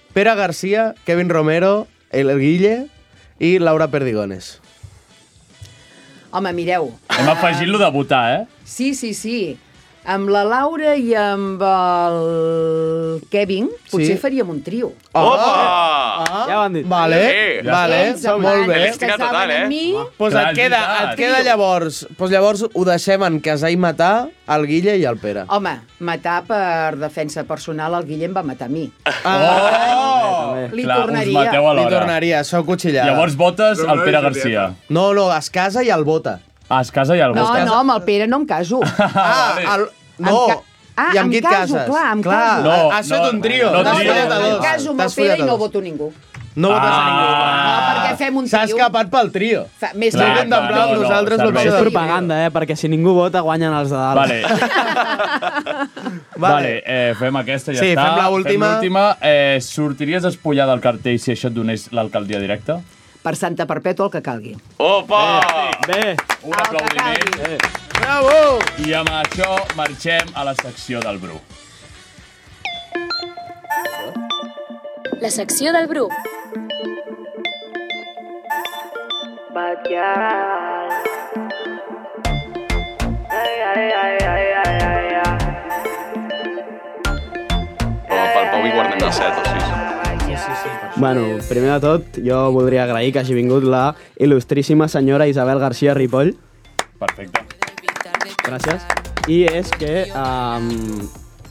Pere Garcia, Kevin Romero, El Guille i Laura Perdigones. Home, mireu, Hem afegit lo de votar, eh? sí, sí, sí, amb la Laura i amb el Kevin, potser Sí. faríem un trio. Opa! Ja ho han dit. Ah, eh, Vale, Sí. vale, Ells em molt van- bé. es casaven total, eh? amb mi, Pues Clar, et és queda, veritat. et queda llavors, pues llavors ho deixem en casar i matar el Guille i el Pere. Home, matar per defensa personal, el Guillem va matar a mi. Li Eh, Clar, us tornaria. mateu a l'hora. Ah, Li tornaria, sou cuchillada. Oh! Llavors votes el Pere Garcia. No, no, es casa i el vota. Ah, es casa i el No, vota. no, amb el Pere no em caso. Ah, el... No, Em ca- Ah, I amb em qui et caso, cases? clar, em clar, caso. No, No, has fet no, un trio. no, t'has trio. Ah. follat a Em dos. caso amb el T'has Pere follat i a no dos. voto ningú. No votes a ningú. No, perquè fem un S'ha tio... escapat pel trio. Fa, més Clar, que... Hem d'emprar amb nosaltres serveix. l'opció És de propaganda, eh? Perquè si ningú vota, guanyen els de dalt. Vale. Vale, eh, fem aquesta i ja Sí, està. fem l'última. Fem l'última. Eh, sortiries espullada del cartell si això et donés l'alcaldia directa? Per Santa Perpètua el que calgui. Opa! Bé, un aplaudiment. Bravo! I amb això marxem a la secció del Bru. La secció del Bru. Pel Pau i guardem el 7 o 6. Bueno, primer de tot, jo voldria agrair que hagi vingut la il·lustríssima senyora Isabel García Ripoll. Perfecte. Gràcies. I és que um,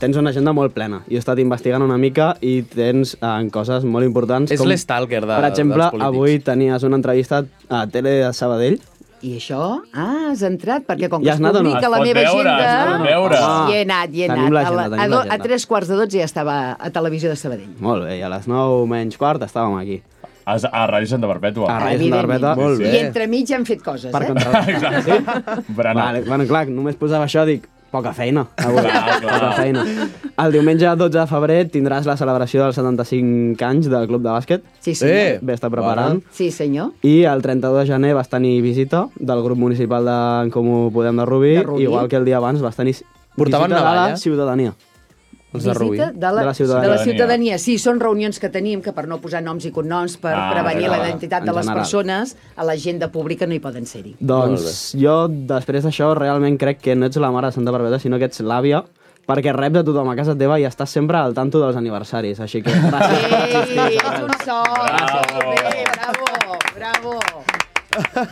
tens una agenda molt plena. Jo he estat investigant una mica i tens uh, coses molt importants. És com, l'estalker de- Per exemple, dels polítics. avui tenies una entrevista a Tele de Sabadell. I això? Ah, has entrat, perquè com que I has es anat o no? publica Es la pot meva veure, agenda... es pot veure. Hi he anat, hi he Tenim anat. l'agenda, a, la- tenim a, do, a l'agenda. tres quarts de dotze ja estava a Televisió de Sabadell. Molt bé, i a les 9 menys quart estàvem aquí. A, a Ràdio Santa Perpètua. A Ràdio Santa Perpètua. Molt Ah, I entremig hem fet coses, Per eh? controlar. Vale, bueno, clar, només posava això, dic, poca feina. Avui, Clar, clar. poca feina. El diumenge 12 de febrer tindràs la celebració dels 75 anys del club de bàsquet. Sí, senyor. Eh, Bé, està preparant. Sí, senyor. I el 32 de gener vas tenir visita del grup municipal d'en Comú Podem de Rubí, De Rubí. igual que el dia abans vas tenir Portaven visita de la navalla? ciutadania. Els de Rubí. Visita de la, de la, ciutadania. de la ciutadania. Sí, són reunions que tenim que per no posar noms i cognoms, per Ah, ah, prevenir d'acord. la identitat de En les general. persones, a l'agenda pública no hi poden ser-hi. Doncs jo, després d'això, realment crec que no ets la mare de Santa Barbeta, sinó que ets l'àvia, perquè reps de tothom a casa teva i estàs sempre al tanto dels aniversaris, així que gràcies. Ei, ets un sol! Bravo! Bé, bravo, bravo!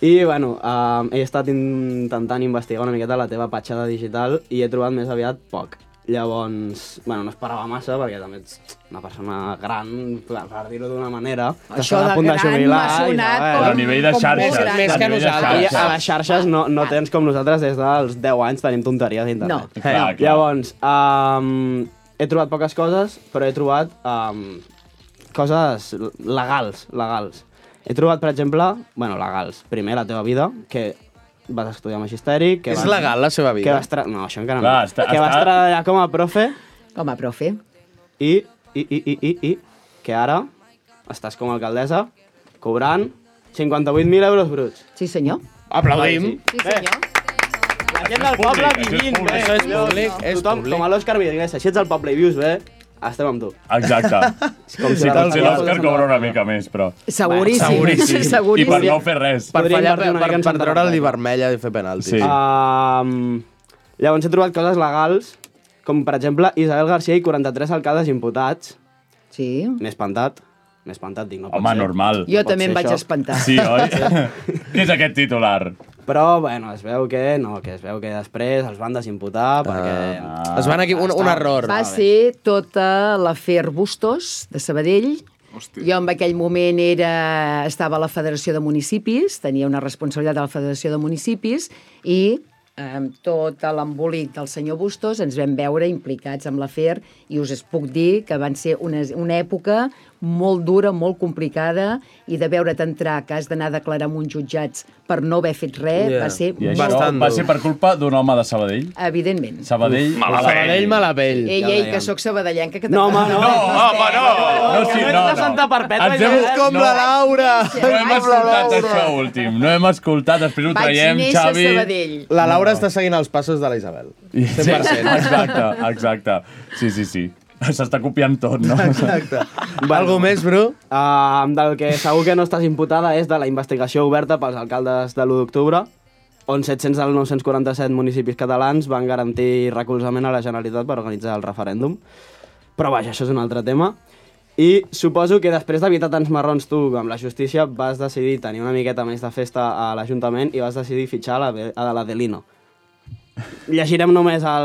I, bueno, eh, he estat intentant investigar una miqueta la teva petjada digital i he trobat més aviat poc. Llavors, bueno, no esperava massa perquè també ets una persona gran, per, per dir-ho d'una manera. que Això estarà a de punt gran jubilar m'ha i sonat tal. com- A nivell de com xarxes, molt gran. més que A nivell de nosaltres. xarxes. A les xarxes no, no tens com nosaltres des dels 10 anys tenim tonteries d'internet. No. Eh, Clar, clar. Llavors, um, he trobat poques coses, però he trobat um, coses legals, legals. He trobat, per exemple, bueno, legals. Primer, la teva vida, que vas estudiar magisteri... Que És vas, legal, la seva vida? Que vas tra... No, això encara Clar, no. està- que vas està- treballar com a profe... Com a profe. I, i, i, i, i, i que ara estàs com a alcaldessa cobrant 58.000 euros bruts. Sí, senyor. Aplaudim. Sí, senyor. La gent del poble vivint, bé. eh? Això és Allò, públic, tothom, és Eh, tothom, públic. Com a l'Òscar Villagresa, si ets del poble i vius bé, estem amb tu. Exacte. Com Com si si la- potser la- l'Òscar la- cobra una mica més, però... Seguríssim. Seguríssim. I per no fer res. Per, fallar, per, per, per treure-li vermell. vermella i fer penaltis. Sí. Ah, Um, llavors he trobat coses legals, com per exemple Isabel Garcia i 43 alcaldes imputats. Sí. M'he espantat. M'he espantat, dic, no pot Home, ser. normal. Jo No pot també em ser vaig això. espantar. Sí, oi? Què és aquest titular? Però, bueno, es veu que no, que es veu que després els van Ah, desimputar perquè... es van equivo- un- un Estava- error. Va ser tota l'afer Bustos, de Sabadell. Hòstia. Jo en aquell moment era, estava a la Federació de Municipis, tenia una responsabilitat de la Federació de Municipis, i amb tot l'embolic del senyor Bustos ens vam veure implicats amb l'afer i us es puc dir que van ser una, una època molt dura, molt complicada i de veure't entrar, que has d'anar a declarar amb uns jutjats per no haver fet res, yeah. va ser I això molt... va ser per culpa d'un home de Sabadell? Evidentment. Sabadell... Uf, mala pell. Sabadell, mala pell. Ei, ei, que sóc sabadellenca. Que No, home, no. No, home, no. No, sí, no, no. Ens hem- eh? Com la Laura! eh? No hem escoltat això últim, no hem escoltat, després ho Vaig traiem, néixer a Xavi. Sabadell. La Laura està seguint els passos de la Isabel. 100%. Sí, exacte, exacte. Sí, sí, sí. S'està copiant tot, no? Exacte. Algo més, Bru? Uh, del que segur que no estàs imputada és de la investigació oberta pels alcaldes de l'1 d'octubre, on 700 dels 947 municipis catalans van garantir recolzament a la Generalitat per organitzar el referèndum. Però vaja, això és un altre tema. I suposo que després d'evitar tants marrons tu amb la justícia vas decidir tenir una miqueta més de festa a l'Ajuntament i vas decidir fitxar la, Be- a la Delino. Llegirem només el,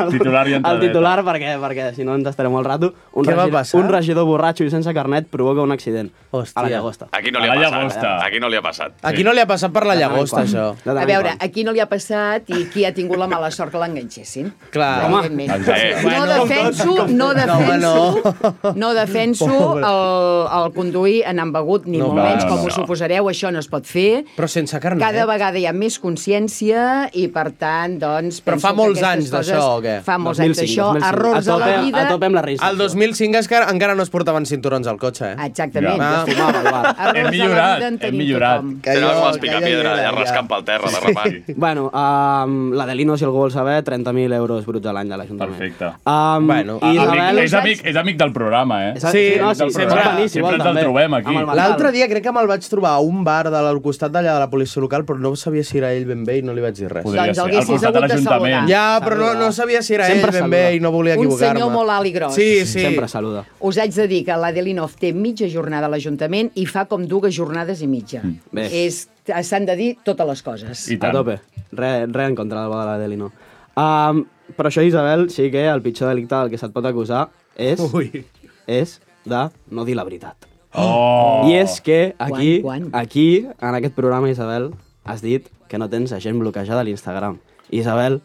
el, Titular i el entradeta. titular perquè, perquè si no ens estarem molt rato. Un Què va regidor- passar? Un regidor borratxo i sense carnet provoca un accident. Hòstia. A la llagosta. Aquí no li ha A la passat. llagosta. Aquí no li ha passat. Aquí no li ha passat per la llagosta, això. A veure, a qui no li ha passat i qui ha tingut la mala sort que l'enganxessin. Clar. Home. Eh, No defenso, no defenso, no defenso Pobre. el, el conduir en embegut, ni No, molt no, menys, no, com no. us suposareu, això no es pot fer. Però sense carnet. eh? Cada vegada hi ha més consciència i, per tant, doncs... Però penso fa que molts aquestes anys coses- d'això, o què? Fa molts anys d'això, errors a, la vida... El 2005 és que encara no es portaven cinturons al cotxe, eh? Exactament. Ah, Ja fumava, va. Errors Hem a la millorat, vida en hem tenim millorat. tothom. Que Era jo- com explicar que jo hi piedra, era, allà ja. rascant pel terra, de repart. Bueno, um, la Delino, si algú vol saber, 30.000 euros bruts a l'any de l'Ajuntament. Perfecte. Um, bueno, Ah, i Isabel... amic, és, amic, és amic del programa, eh? Sí, Sí, no, sí, Del sempre programa. venís, igual, sempre ens també. el trobem aquí. L'altre dia crec que me'l vaig trobar a un bar de al costat d'allà de la policia local, però no sabia si era ell ben bé i no li vaig dir res. Podria Doncs ser. el Al haguessis costat de hagut de l'Ajuntament. Ah, saludar. Ja, però no, no sabia si era Sempre ell ben saluda. bé i no volia Un senyor equivocar-me. molt alt i gros. Sí, sí. Sempre saluda. Us haig de dir que l'Adelinov té mitja jornada a l'Ajuntament i fa com dues jornades i mitja. Mm. Bé. És- S'han de dir totes les coses. A tope. Re, re en contra del bo de la Delino. Um, però això, Isabel, sí que el pitjor delicte del que se't pot acusar és... Ui. És de no dir la veritat. Oh! I és que aquí, Quan, aquí, en aquest programa, Isabel, has dit que no tens gent bloquejada a l'Instagram. Isabel,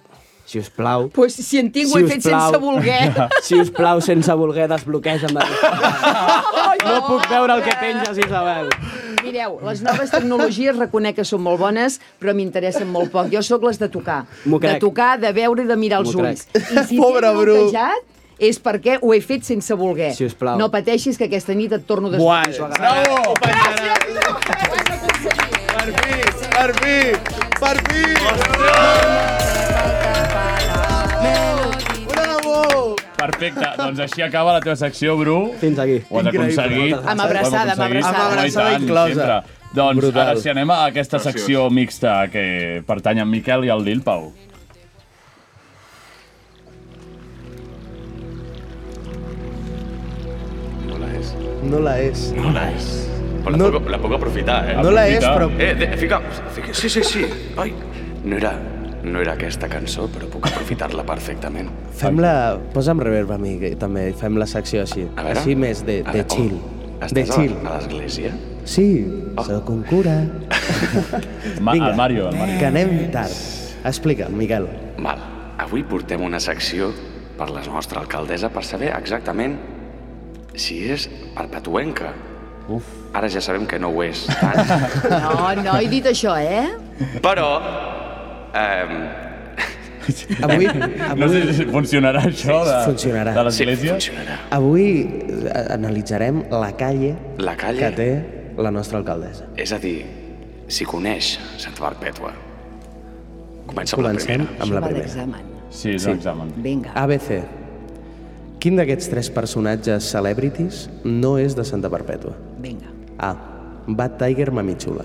si us plau... Doncs Pues si en tinc, ho he fet sense voler. Si us plau, sense voler, desbloqueja'm de l'Instagram. No puc veure el que penges, Isabel. Mireu, les noves tecnologies reconec que són molt bones, però m'interessen molt poc. Jo sóc les de tocar. M'ho De crec. tocar, de veure i de mirar els M'ho crec. ulls. I si Pobre t'he Bru. bloquejat, és perquè ho he fet sense voler. Sisplau. No pateixis, que aquesta nit et torno a Buah, Bravo! Per fi, per fi, per fi! Una Perfecte, doncs així acaba la teva secció, Bru. Fins aquí. Ho has Increïble. aconseguit. Amb Ho hem aconseguit. abraçada, amb abraçada. Amb abraçada Oh, i tant, inclosa. sempre. Doncs Brutal. ara sí, anem a aquesta Graciós. secció mixta que pertany a en Miquel i al Lil Pau. No la és. No la és. No la és. Però la, No- puc, la puc aprofitar, eh? No la és, però- Eh, de, fica, fica, sí, sí, sí. Ai, no era, no era aquesta cançó, però puc aprofitar-la perfectament. Fem-la... Posa'm reverb a mi, que també. Fem la secció així. A veure. Així més de, A veure, de oh, chill. Estàs De chill. a, a l'església? Oh. Sí, sóc un cura. Ma- el Mario, el Mario. Que anem tard. Explica, Miquel. Val, avui portem una secció per la nostra alcaldessa per saber exactament si és perpetuenca. Uf. Ara ja sabem que no ho és tant, No, no he dit això, eh? però... Eh, Avui, No sé si funcionarà això de, Funcionarà. de l'església. Sí, funcionarà. Avui eh, analitzarem la calle, La calle? que té la nostra alcaldessa. És a dir, si coneix Santa Perpètua. Comença amb Comencem la primera. amb la primera. Ah. Examen. Sí, doncs, és un examen. Vinga. ABC. Quin d'aquests tres personatges celebrities no és de Santa Perpètua? Vinga. A. Bad Tiger Mamichula.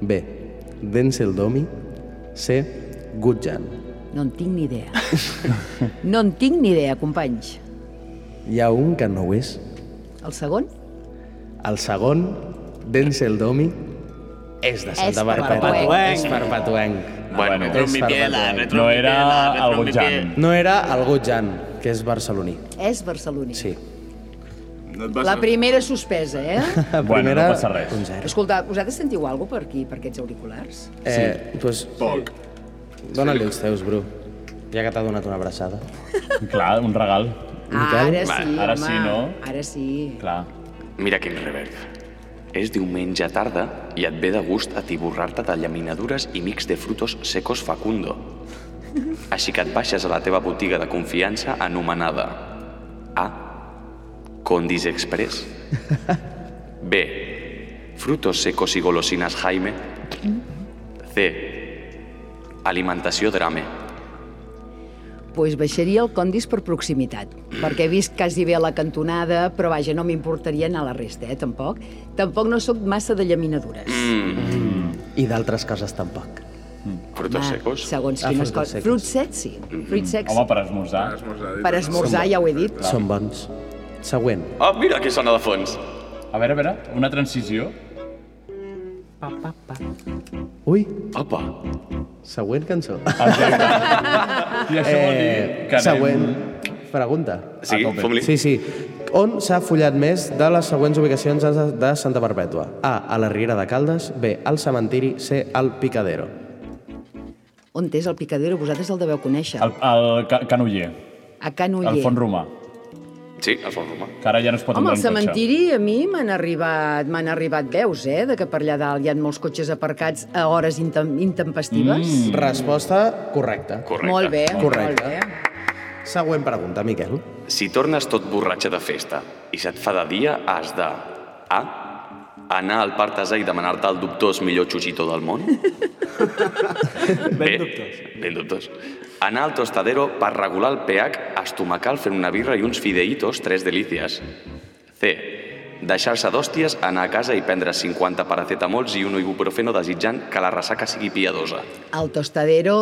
B. Denzel Domi. C. Gutjan. No en tinc ni idea. No en tinc ni idea, companys. Hi ha un que no ho és. El segon? El segon, Denzel Domi, és de Santa És Perpètua. perpetuenc. És perpetuenc. Bueno, metro en mi piel, metro en mi piel, metro en mi piel. No era el Gutjan, que és barceloní. És barceloní. Sí. No et La primera suspesa, eh? La Bueno, primera, no passa res. un zero. Escolta, vosaltres sentiu alguna cosa per aquí, per aquests auriculars? Eh, sí. pues, Poc. Dóna-li els teus, Bru. Ja que t'ha donat una abraçada. Clar, un regal. Ara Va, sí, ara home. sí, no? Ara sí. Clar. Mira quin reverb. És diumenge tarda i et ve de gust atiborrar-te de llaminadures i mix de frutos secos facundo. Així que et baixes a la teva botiga de confiança anomenada A. Condis Express B. Frutos secos i golosines Jaime C. Alimentació Drame pues baixaria el Condis per proximitat, perquè he vist quasi bé a la cantonada, però vaja, no m'importaria anar a la resta, eh, tampoc. Tampoc no sóc massa de llaminadures. Mm. I d'altres coses tampoc. Frutos Home, secos? Segons Ah, quines frutos coses. secos. Fruits secs, sí. Fruits secs. Home, per esmorzar. Per esmorzar, ja ho he dit. Són bons. Següent. Oh, mira què sona de fons! A veure, a veure, una transició. Ui. Apa. Següent cançó. I això vol dir que anem... Eh, Següent. Pregunta. Sí, A tope. fum-li. Sí, sí. On s'ha follat més de les següents ubicacions de, de Santa Perpètua? A. A la Riera de Caldes. B. Al cementiri. C. Al Picadero. On és el picadero? Vosaltres el deveu conèixer. El, el ca canoller, A Can Uller. el font romà, Sí, el fons romà. que ara ja no es pot Home, entrar en al cotxe. cementiri a mi m'han arribat, m'han arribat veus, eh, de que per allà dalt hi ha molts cotxes aparcats a hores intem intempestives. Mm. Resposta correcta. Correcte. Molt bé, Correcte. molt bé. Següent pregunta, Miquel. Si tornes tot borratxa de festa i se't fa de dia, has de... A. Anar al Partesà i demanar-te el dubtós millor xugitó del món. ben dubtós. Ben dubtós. Anar al tostadero per regular el pH estomacal fent una birra i uns fideitos, tres delícies. C. Deixar-se d'hòsties, anar a casa i prendre 50 paracetamols i un ibuprofeno desitjant que la ressaca sigui piadosa. Al tostadero,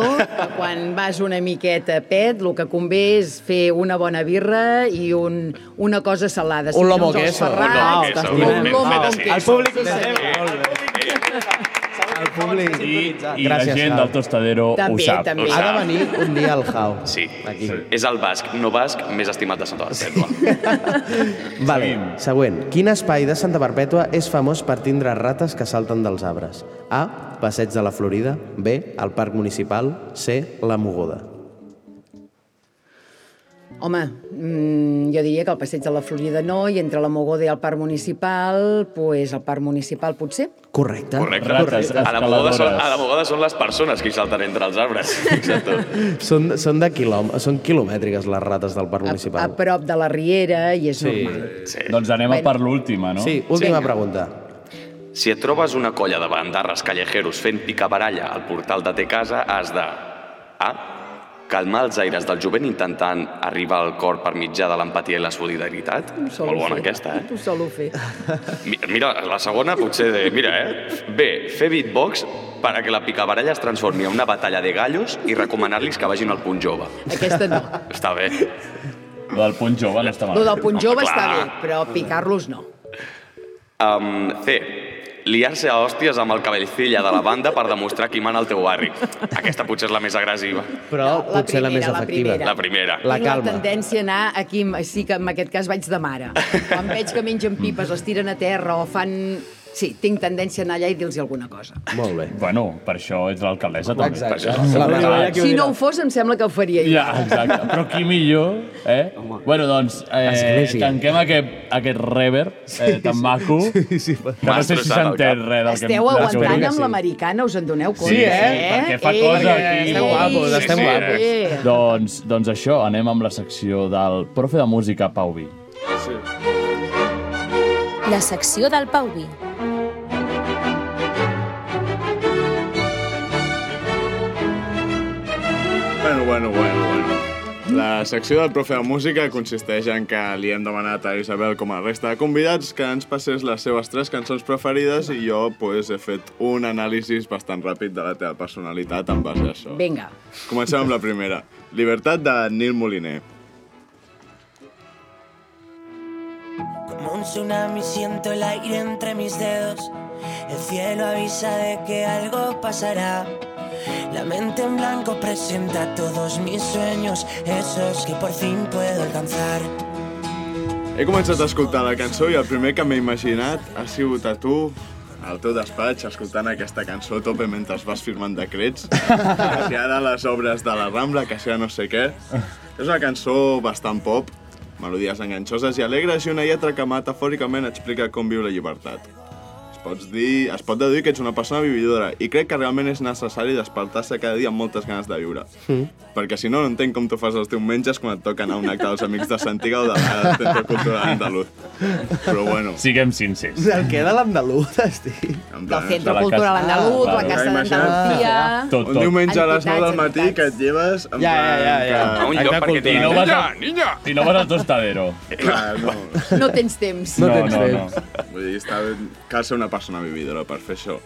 quan vas una miqueta a pet, el que convé és fer una bona birra i un, una cosa salada. Un lomo uns ous queso. Un ferrats, lomo queso, Un molt bé, lomo fet con així. queso. El públic Sí, ho senyor. El públic. I la gent del tostadero ho També, sap. també. Ho Ha sap. de venir un dia al Jau. Sí. Aquí. És el basc, no basc, més estimat de Santa Perpètua. Vale, següent. Quin espai de Santa Perpètua és famós per tindre rates que salten dels arbres? A. Passeig de la Florida. B. El Parc Municipal. C. La Mogoda. Home, mm, jo diria que el passeig de la Florida no, i entre la Mogoda i el Parc Municipal, pues el Parc Municipal potser. Correcte. Correcte. A la, mogoda són, a la escaladores. mogoda són les persones que hi salten entre els arbres. Fixa't tu. Són, són, de quilom... són quilomètriques les rates del Parc A Municipal. prop de la Riera, i és normal. Sí. Doncs anem a per l'última, no? Sí, última pregunta. Si et trobes una colla de bandarres callejeros fent picabaralla al portal de te casa, has de... A. Calmar els aires del jovent intentant arribar al cor per mitjà de l'empatia i la solidaritat? Ho solo Molt bona fer. aquesta, eh? Ho solo fer. Mi- Mira, la segona potser de... Mira, eh? Bé, fer beatbox per a que la picabaralla es transformi en una batalla de gallos i recomanar-los que vagin al punt jove. Aquesta no. Està bé. Lo del punt jove no està Lo del punt jove està bé, però picar-los no. Um, C. Liar-se a hòsties amb el cabellcilla de la banda per demostrar qui mana el teu barri. Aquesta potser és la més agressiva. Però no, potser la, més primera, la efectiva. primera. La primera. La Tinc la calma. tendència a anar aquí, sí que en aquest cas vaig de mare. Quan veig que mengen pipes, les tiren a terra o fan... Sí, tinc tendència a anar allà i dir-los alguna cosa. Molt bé. Bueno, per això ets l'alcaldessa, també. Exacte. Per això. La Exacte. Si no ho fos, em sembla que ho faria jo. Ja, exacte. Però qui millor, eh? Home. Bueno, doncs, eh, Església. tanquem aquest, aquest rever eh, tan maco, sí, sí, que no sé si M'has trossat el s'entén cap. res del que... Esteu del que vull aguantant dir. amb l'americana, us en doneu compte, Sí, eh? Perquè fa cosa aquí. eh? Doncs, doncs això, anem amb la secció del profe de música, Pau Vi. Sí. La secció del Pau Vi. Bueno, bueno, bueno, bueno. La secció del profe de música consisteix en que li hem demanat a Isabel com a resta de convidats que ens passés les seves tres cançons preferides i jo pues, he fet un anàlisi bastant ràpid de la teva personalitat en base a això. Vinga. Comencem amb la primera. Libertat de Nil Moliner. Como un tsunami siento el aire entre mis dedos. El cielo avisa de que algo pasará. La mente en blanco presenta todos mis sueños, esos que por fin puedo alcanzar. He començat a escoltar la cançó i el primer que m'he imaginat ha sigut a tu, al teu despatx, escoltant aquesta cançó a tope mentre vas firmant decrets, que si ara les obres de la Rambla, que si ara no sé què. És una cançó bastant pop, melodies enganxoses i alegres i una lletra que metafòricament explica com viu la llibertat. Es, pots dir, es pot deduir que ets una persona vividora i crec que realment és necessari despertar-se cada dia amb moltes ganes de viure. Perquè si no, no entenc com tu fas els diumenges quan et toca anar a un acte dels Amics de Santiga o de la Centre Cultural Andaluz. Però bueno. Siguem sincers. Del què de l'Andaluz, estic? Del Centre Cultural Andaluz, la Casa d'Andalucía... Tot, tot. Ah, Un diumenge a les 9 del Entitats, matí que et lleves... En Ja, ja, ja, ja. plan que- A un lloc Acte perquè cultural. digui, no vas "Niña, a- Si no vas al tostadero. Clar, Ah, no. No tens temps. no. Vull dir, està... cal ser una persona vividora per fer això.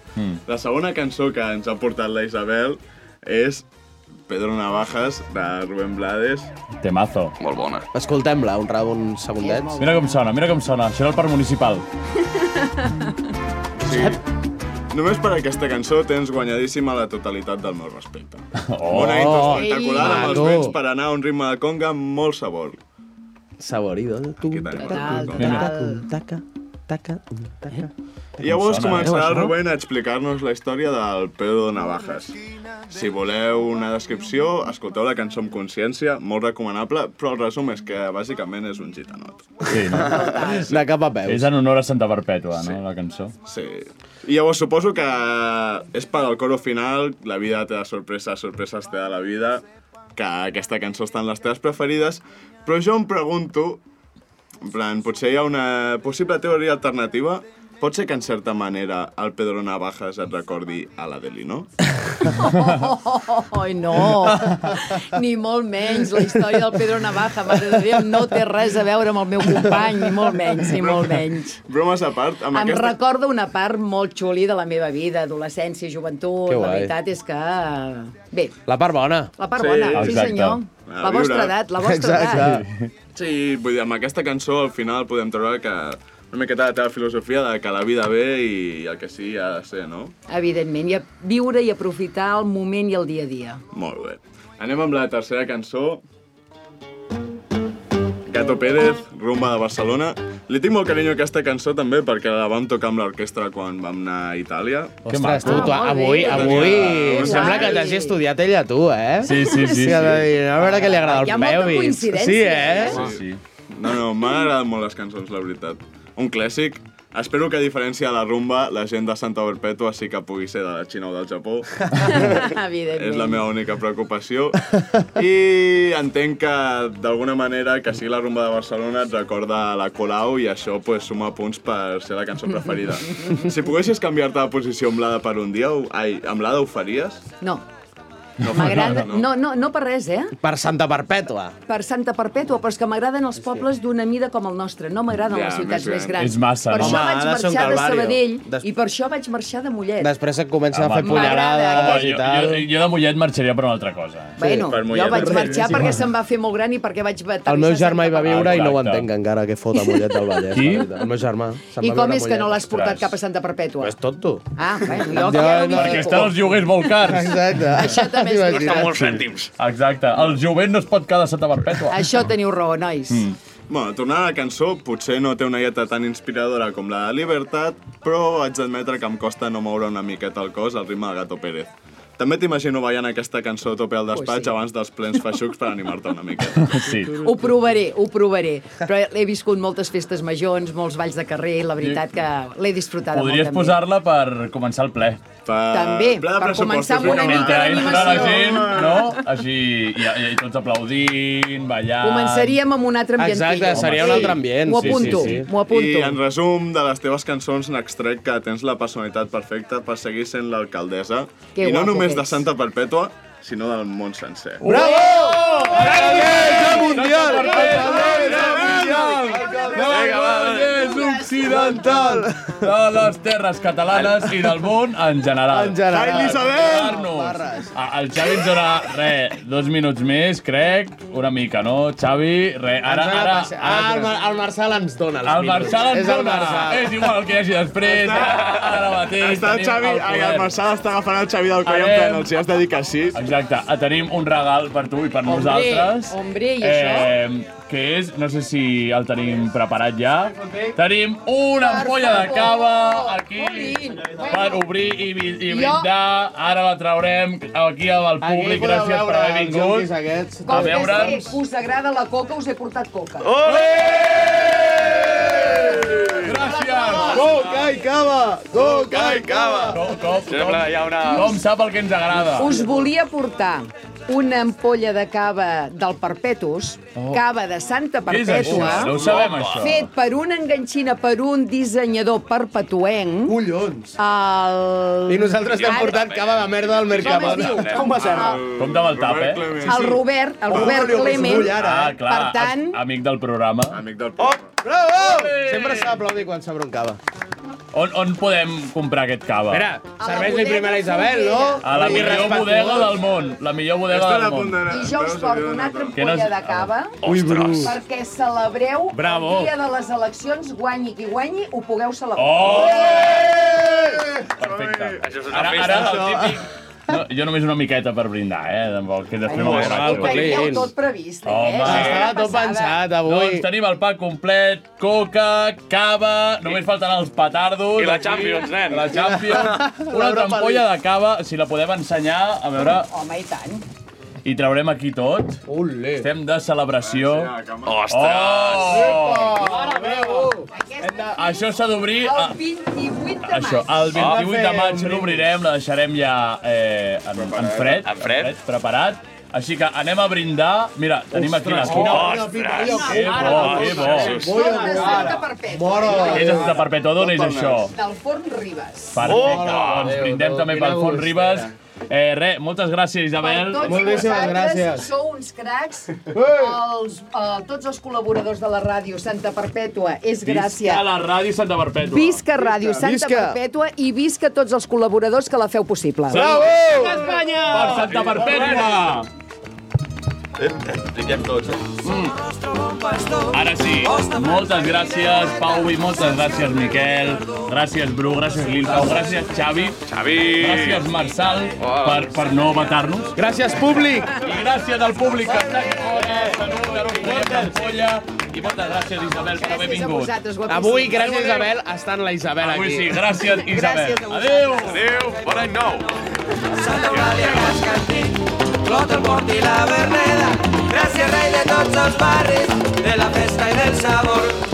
La segona cançó que ens ha portat la Isabel és Pedro Navajas, de Rubén Blades. Temazo. Molt bona. Escoltem-la un, ra- un segundet. Mira com sona, mira com sona. Això era el parc municipal. Sí. Només per aquesta cançó tens guanyadíssima la totalitat del meu respecte. Oh. Una intro espectacular amb els Maco. vents per anar a un ritme de conga amb molt sabor. Saborido. Tu, tenim taca, el taca, control. taca, taca, taca. I llavors Sona, eh, començarà el això? Rubén a explicar-nos la història del Pedro Navajas. Si voleu una descripció, escolteu la cançó amb consciència, molt recomanable, però el resum és que bàsicament és un gitanot. Sí, no? Eh? De cap a peus. És en honor a Santa Perpètua, no?, la cançó. Sí. I llavors suposo que és per al coro final, la vida té de sorpreses, sorpreses té de la vida, que aquesta cançó està en les teves preferides, però jo em pregunto, en plan, potser hi ha una possible teoria alternativa, pot ser que en certa manera el Pedro Navajas et recordi a l'Adelino? Ai, no! Ni molt menys la història del Pedro Navaja, mare de Déu, no té res a veure amb el meu company, ni molt menys, ni molt menys. Bromes a part, amb Em aquesta... recorda una part molt xuli de la meva vida, adolescència, joventut, Que la guai. veritat és que... Bé, La part bona. la part bona, sí senyor. La vostra edat, la vostra edat. Sí, vull dir, amb aquesta cançó al final podem treure que una miqueta la teva filosofia de que la vida ve i el que sí ha de ser, no? Evidentment, i a viure i aprofitar el moment i el dia a dia. Molt bé. Anem amb la tercera cançó. Gato Pérez, Rumba de Barcelona. Li tinc molt carinyo a aquesta cançó també perquè la vam tocar amb l'orquestra quan vam anar a Itàlia. Ostres, tu, Ah, tu avui, avui, em sembla que t'hagi estudiat ella, tu, eh? Sí, sí, sí, sí. a veure, a veure què li agrada Hi ha al molta Peuvis. coincidència, Sí, eh? eh? Sí, sí. No, no, m'han agradat molt les cançons, la veritat. Un clàssic. Espero que, a diferència de la rumba, la gent de Santa Perpètua sí que pugui ser de la Xina o del Japó. Evidentment. És la meva única preocupació. I entenc que, d'alguna manera, que sigui la rumba de Barcelona et recorda la Colau i això pues, suma punts per ser la cançó preferida. Si poguessis canviar-te de posició amb l'Ada per un dia, ho- ai, amb l'Ada ho faries? No. M'agrada... No, no, no per res, eh? Per Santa Perpètua. Per Santa Perpètua, però és que m'agraden els pobles d'una mida com el nostre. No m'agraden Ja, les ciutats més més gran. grans. És massa, Per no? això Home, ha de vaig ser un marxar de calvari. Sabadell Des- i per això vaig marxar de Mollet. Després et Ah, comencen a Home, fer punyalades jo, i tal. jo, jo de Mollet marxaria per una altra cosa. Bueno, jo vaig marxar perquè igual. se'm va fer molt gran i perquè vaig batallar. El meu germà hi va viure i no ho Exacte. entenc encara, què fot a Mollet del Vallès. Qui? la veritat. El meu germà. se'n I va com viure a és que no Mollet. l'has portat cap a Santa Perpètua? Pues tot tu. Ah, bueno, jo, Jo que ja no, no, m'hi perquè fico. estan els lloguers molt cars. Exacte. Això també és veritat. Costa molts cèntims. Exacte. El jovent no es pot quedar sota perpètua. Això teniu raó, nois. Mm. Bueno, tornant a la cançó, potser no té una lletra tan inspiradora com la de Libertat, però haig d'admetre que em costa no moure una miqueta el cos al ritme de Gato Pérez. També t'imagino ballant aquesta cançó a tope al despatx abans dels plens feixucs per animar-te una miqueta. Sí. Ho provaré, ho provaré. Però he viscut moltes festes majors, molts balls de carrer, la veritat que l'he disfrutada Podries molt també. posar-la per començar el ple. Per... També, ple de per pressupostos, començar amb una vinga, mica va. eh? Mentre entra la Ah. d'animació. gent, no? Així, i, i, i tots aplaudint, ballant... Començaríem amb un altre ambientillo. M'ho apunto, m'ho apunto. I en resum, de les teves cançons n'extrec que tens la personalitat perfecta per seguir sent l'alcaldessa. Que I no guapo només que de Santa Perpètua, sinó del món sencer. Bravo! Alcaldessa mundial! Vallès occidental de les terres catalanes i del món en general. En general. Ai, Isabel! Barres. Ah, El Xavi ens dona, re, dos minuts més, crec, una mica, no? Xavi, re, ara, Ens ha de ara... passar. Ah, el, Mar- el Marçal ens dona els El minuts. Marçal ens És el dona. Marçal. És igual el que hi hagi després. Ara mateix Està el tenim Xavi, el ai, el poder. Marçal està agafant el Xavi del coll en Anem. plan, els hi has de dir que sí. Exacte, ah, tenim un regal per tu i per Hombre, nosaltres. hombre, i això? que és, no sé si el tenim preparat ja, tenim una ampolla de cava aquí per obrir i, vi- i Jo- brindar. Ara la traurem aquí amb el públic. podeu Gràcies per veure haver els vingut. junkies aquests. A Com que sé veure'ns. que us agrada la coca, us he portat coca. Gràcies! Coca i cava! Coca i cava! Com, com, Sembla hi ha una... Com sap el que ens agrada. Us volia portar una ampolla de cava del Perpetus, Oh. cava de Santa Què és això? Perpètua, No ho sabem, això. eh? fet per una enganxina per un dissenyador perpetuenc. Collons! El... I nosaltres t'hem portat cava de merda al mercat. Com es diu? Com va ser? Compte amb el tap, eh? El Robert, el Robert Clement. Ah, clar, Per tant, amic del programa. Amic del programa. Bravo! Sempre s'ha d'aplaudir quan s'obre un cava. On, on podem comprar aquest cava? Mira, serveix-li primer a la Isabel, no? A la millor bodega del món. La millor bodega del món. i jo us porto una altra Que no és- ampolla de cava Ui, Bru. perquè celebreu Bravo. el dia de les eleccions, guanyi qui guanyi, ho pugueu celebrar. Oh! Perfecte. Això és Ara, ara, el típic... No, jo només una miqueta per brindar, eh? Tampoc, que després m'ho Bueno, bueno, Ho teniu tot previst, eh? Home. Ja Estava tot passada. pensat, avui. Doncs tenim el pack complet, coca, cava, només faltan els petardos. I la aquí. Champions, nen. La Champions. I la- Una altra l'Europa ampolla de cava, si la podem ensenyar, a veure, Home, i tant. i traurem aquí tot. Uh. Olé. Estem de celebració. Ah, Oh! Ostres! Això s'ha d'obrir... a- El 28 de ah. Això, Ah. el 28 de maig l'obrirem, la deixarem ja eh, en, en fred, en fred, preparat. Així que anem a brindar. Mira, tenim aquí la Ostres, quina bona pinta, copa. jo, Que quina bo, bona que cosa, eh? bo. Moro, De Santa Perpètua. Què és aquesta perpètua? D'on és això? Del forn Ribes. Oh! Perfecte, doncs brindem també pel quina Font Ribes. Eh, re, moltes gràcies, Isabel. Tots vosaltres sou uns cracs. Els, eh, tots els col·laboradors de la ràdio Santa Perpètua és gràcies. Visca la ràdio Santa Perpètua. Visca Ràdio Santa Visca. Perpètua i visca tots els col·laboradors que la feu possible. Visca Espanya! Per Santa Perpètua! Diguem tots, eh? Mm. Ara sí, moltes gràcies, Pau, i moltes gràcies, Miquel. Gràcies, Bru, gràcies, Lilpau, gràcies, Xavi. Xavi! Gràcies, Marçal, per, per no matar-nos. Gràcies, públic! I gràcies al públic que està aquí fora. Salut, Aeroport d'Ampolla. I moltes gràcies, Isabel, per haver vingut. Avui, gràcies, Isabel, estan la Isabel aquí. Avui sí, gràcies, Isabel. Adéu! Adéu! Bon any nou! Clot el port i la verneda, gràcies rei de tots els barris, de la festa i del sabor.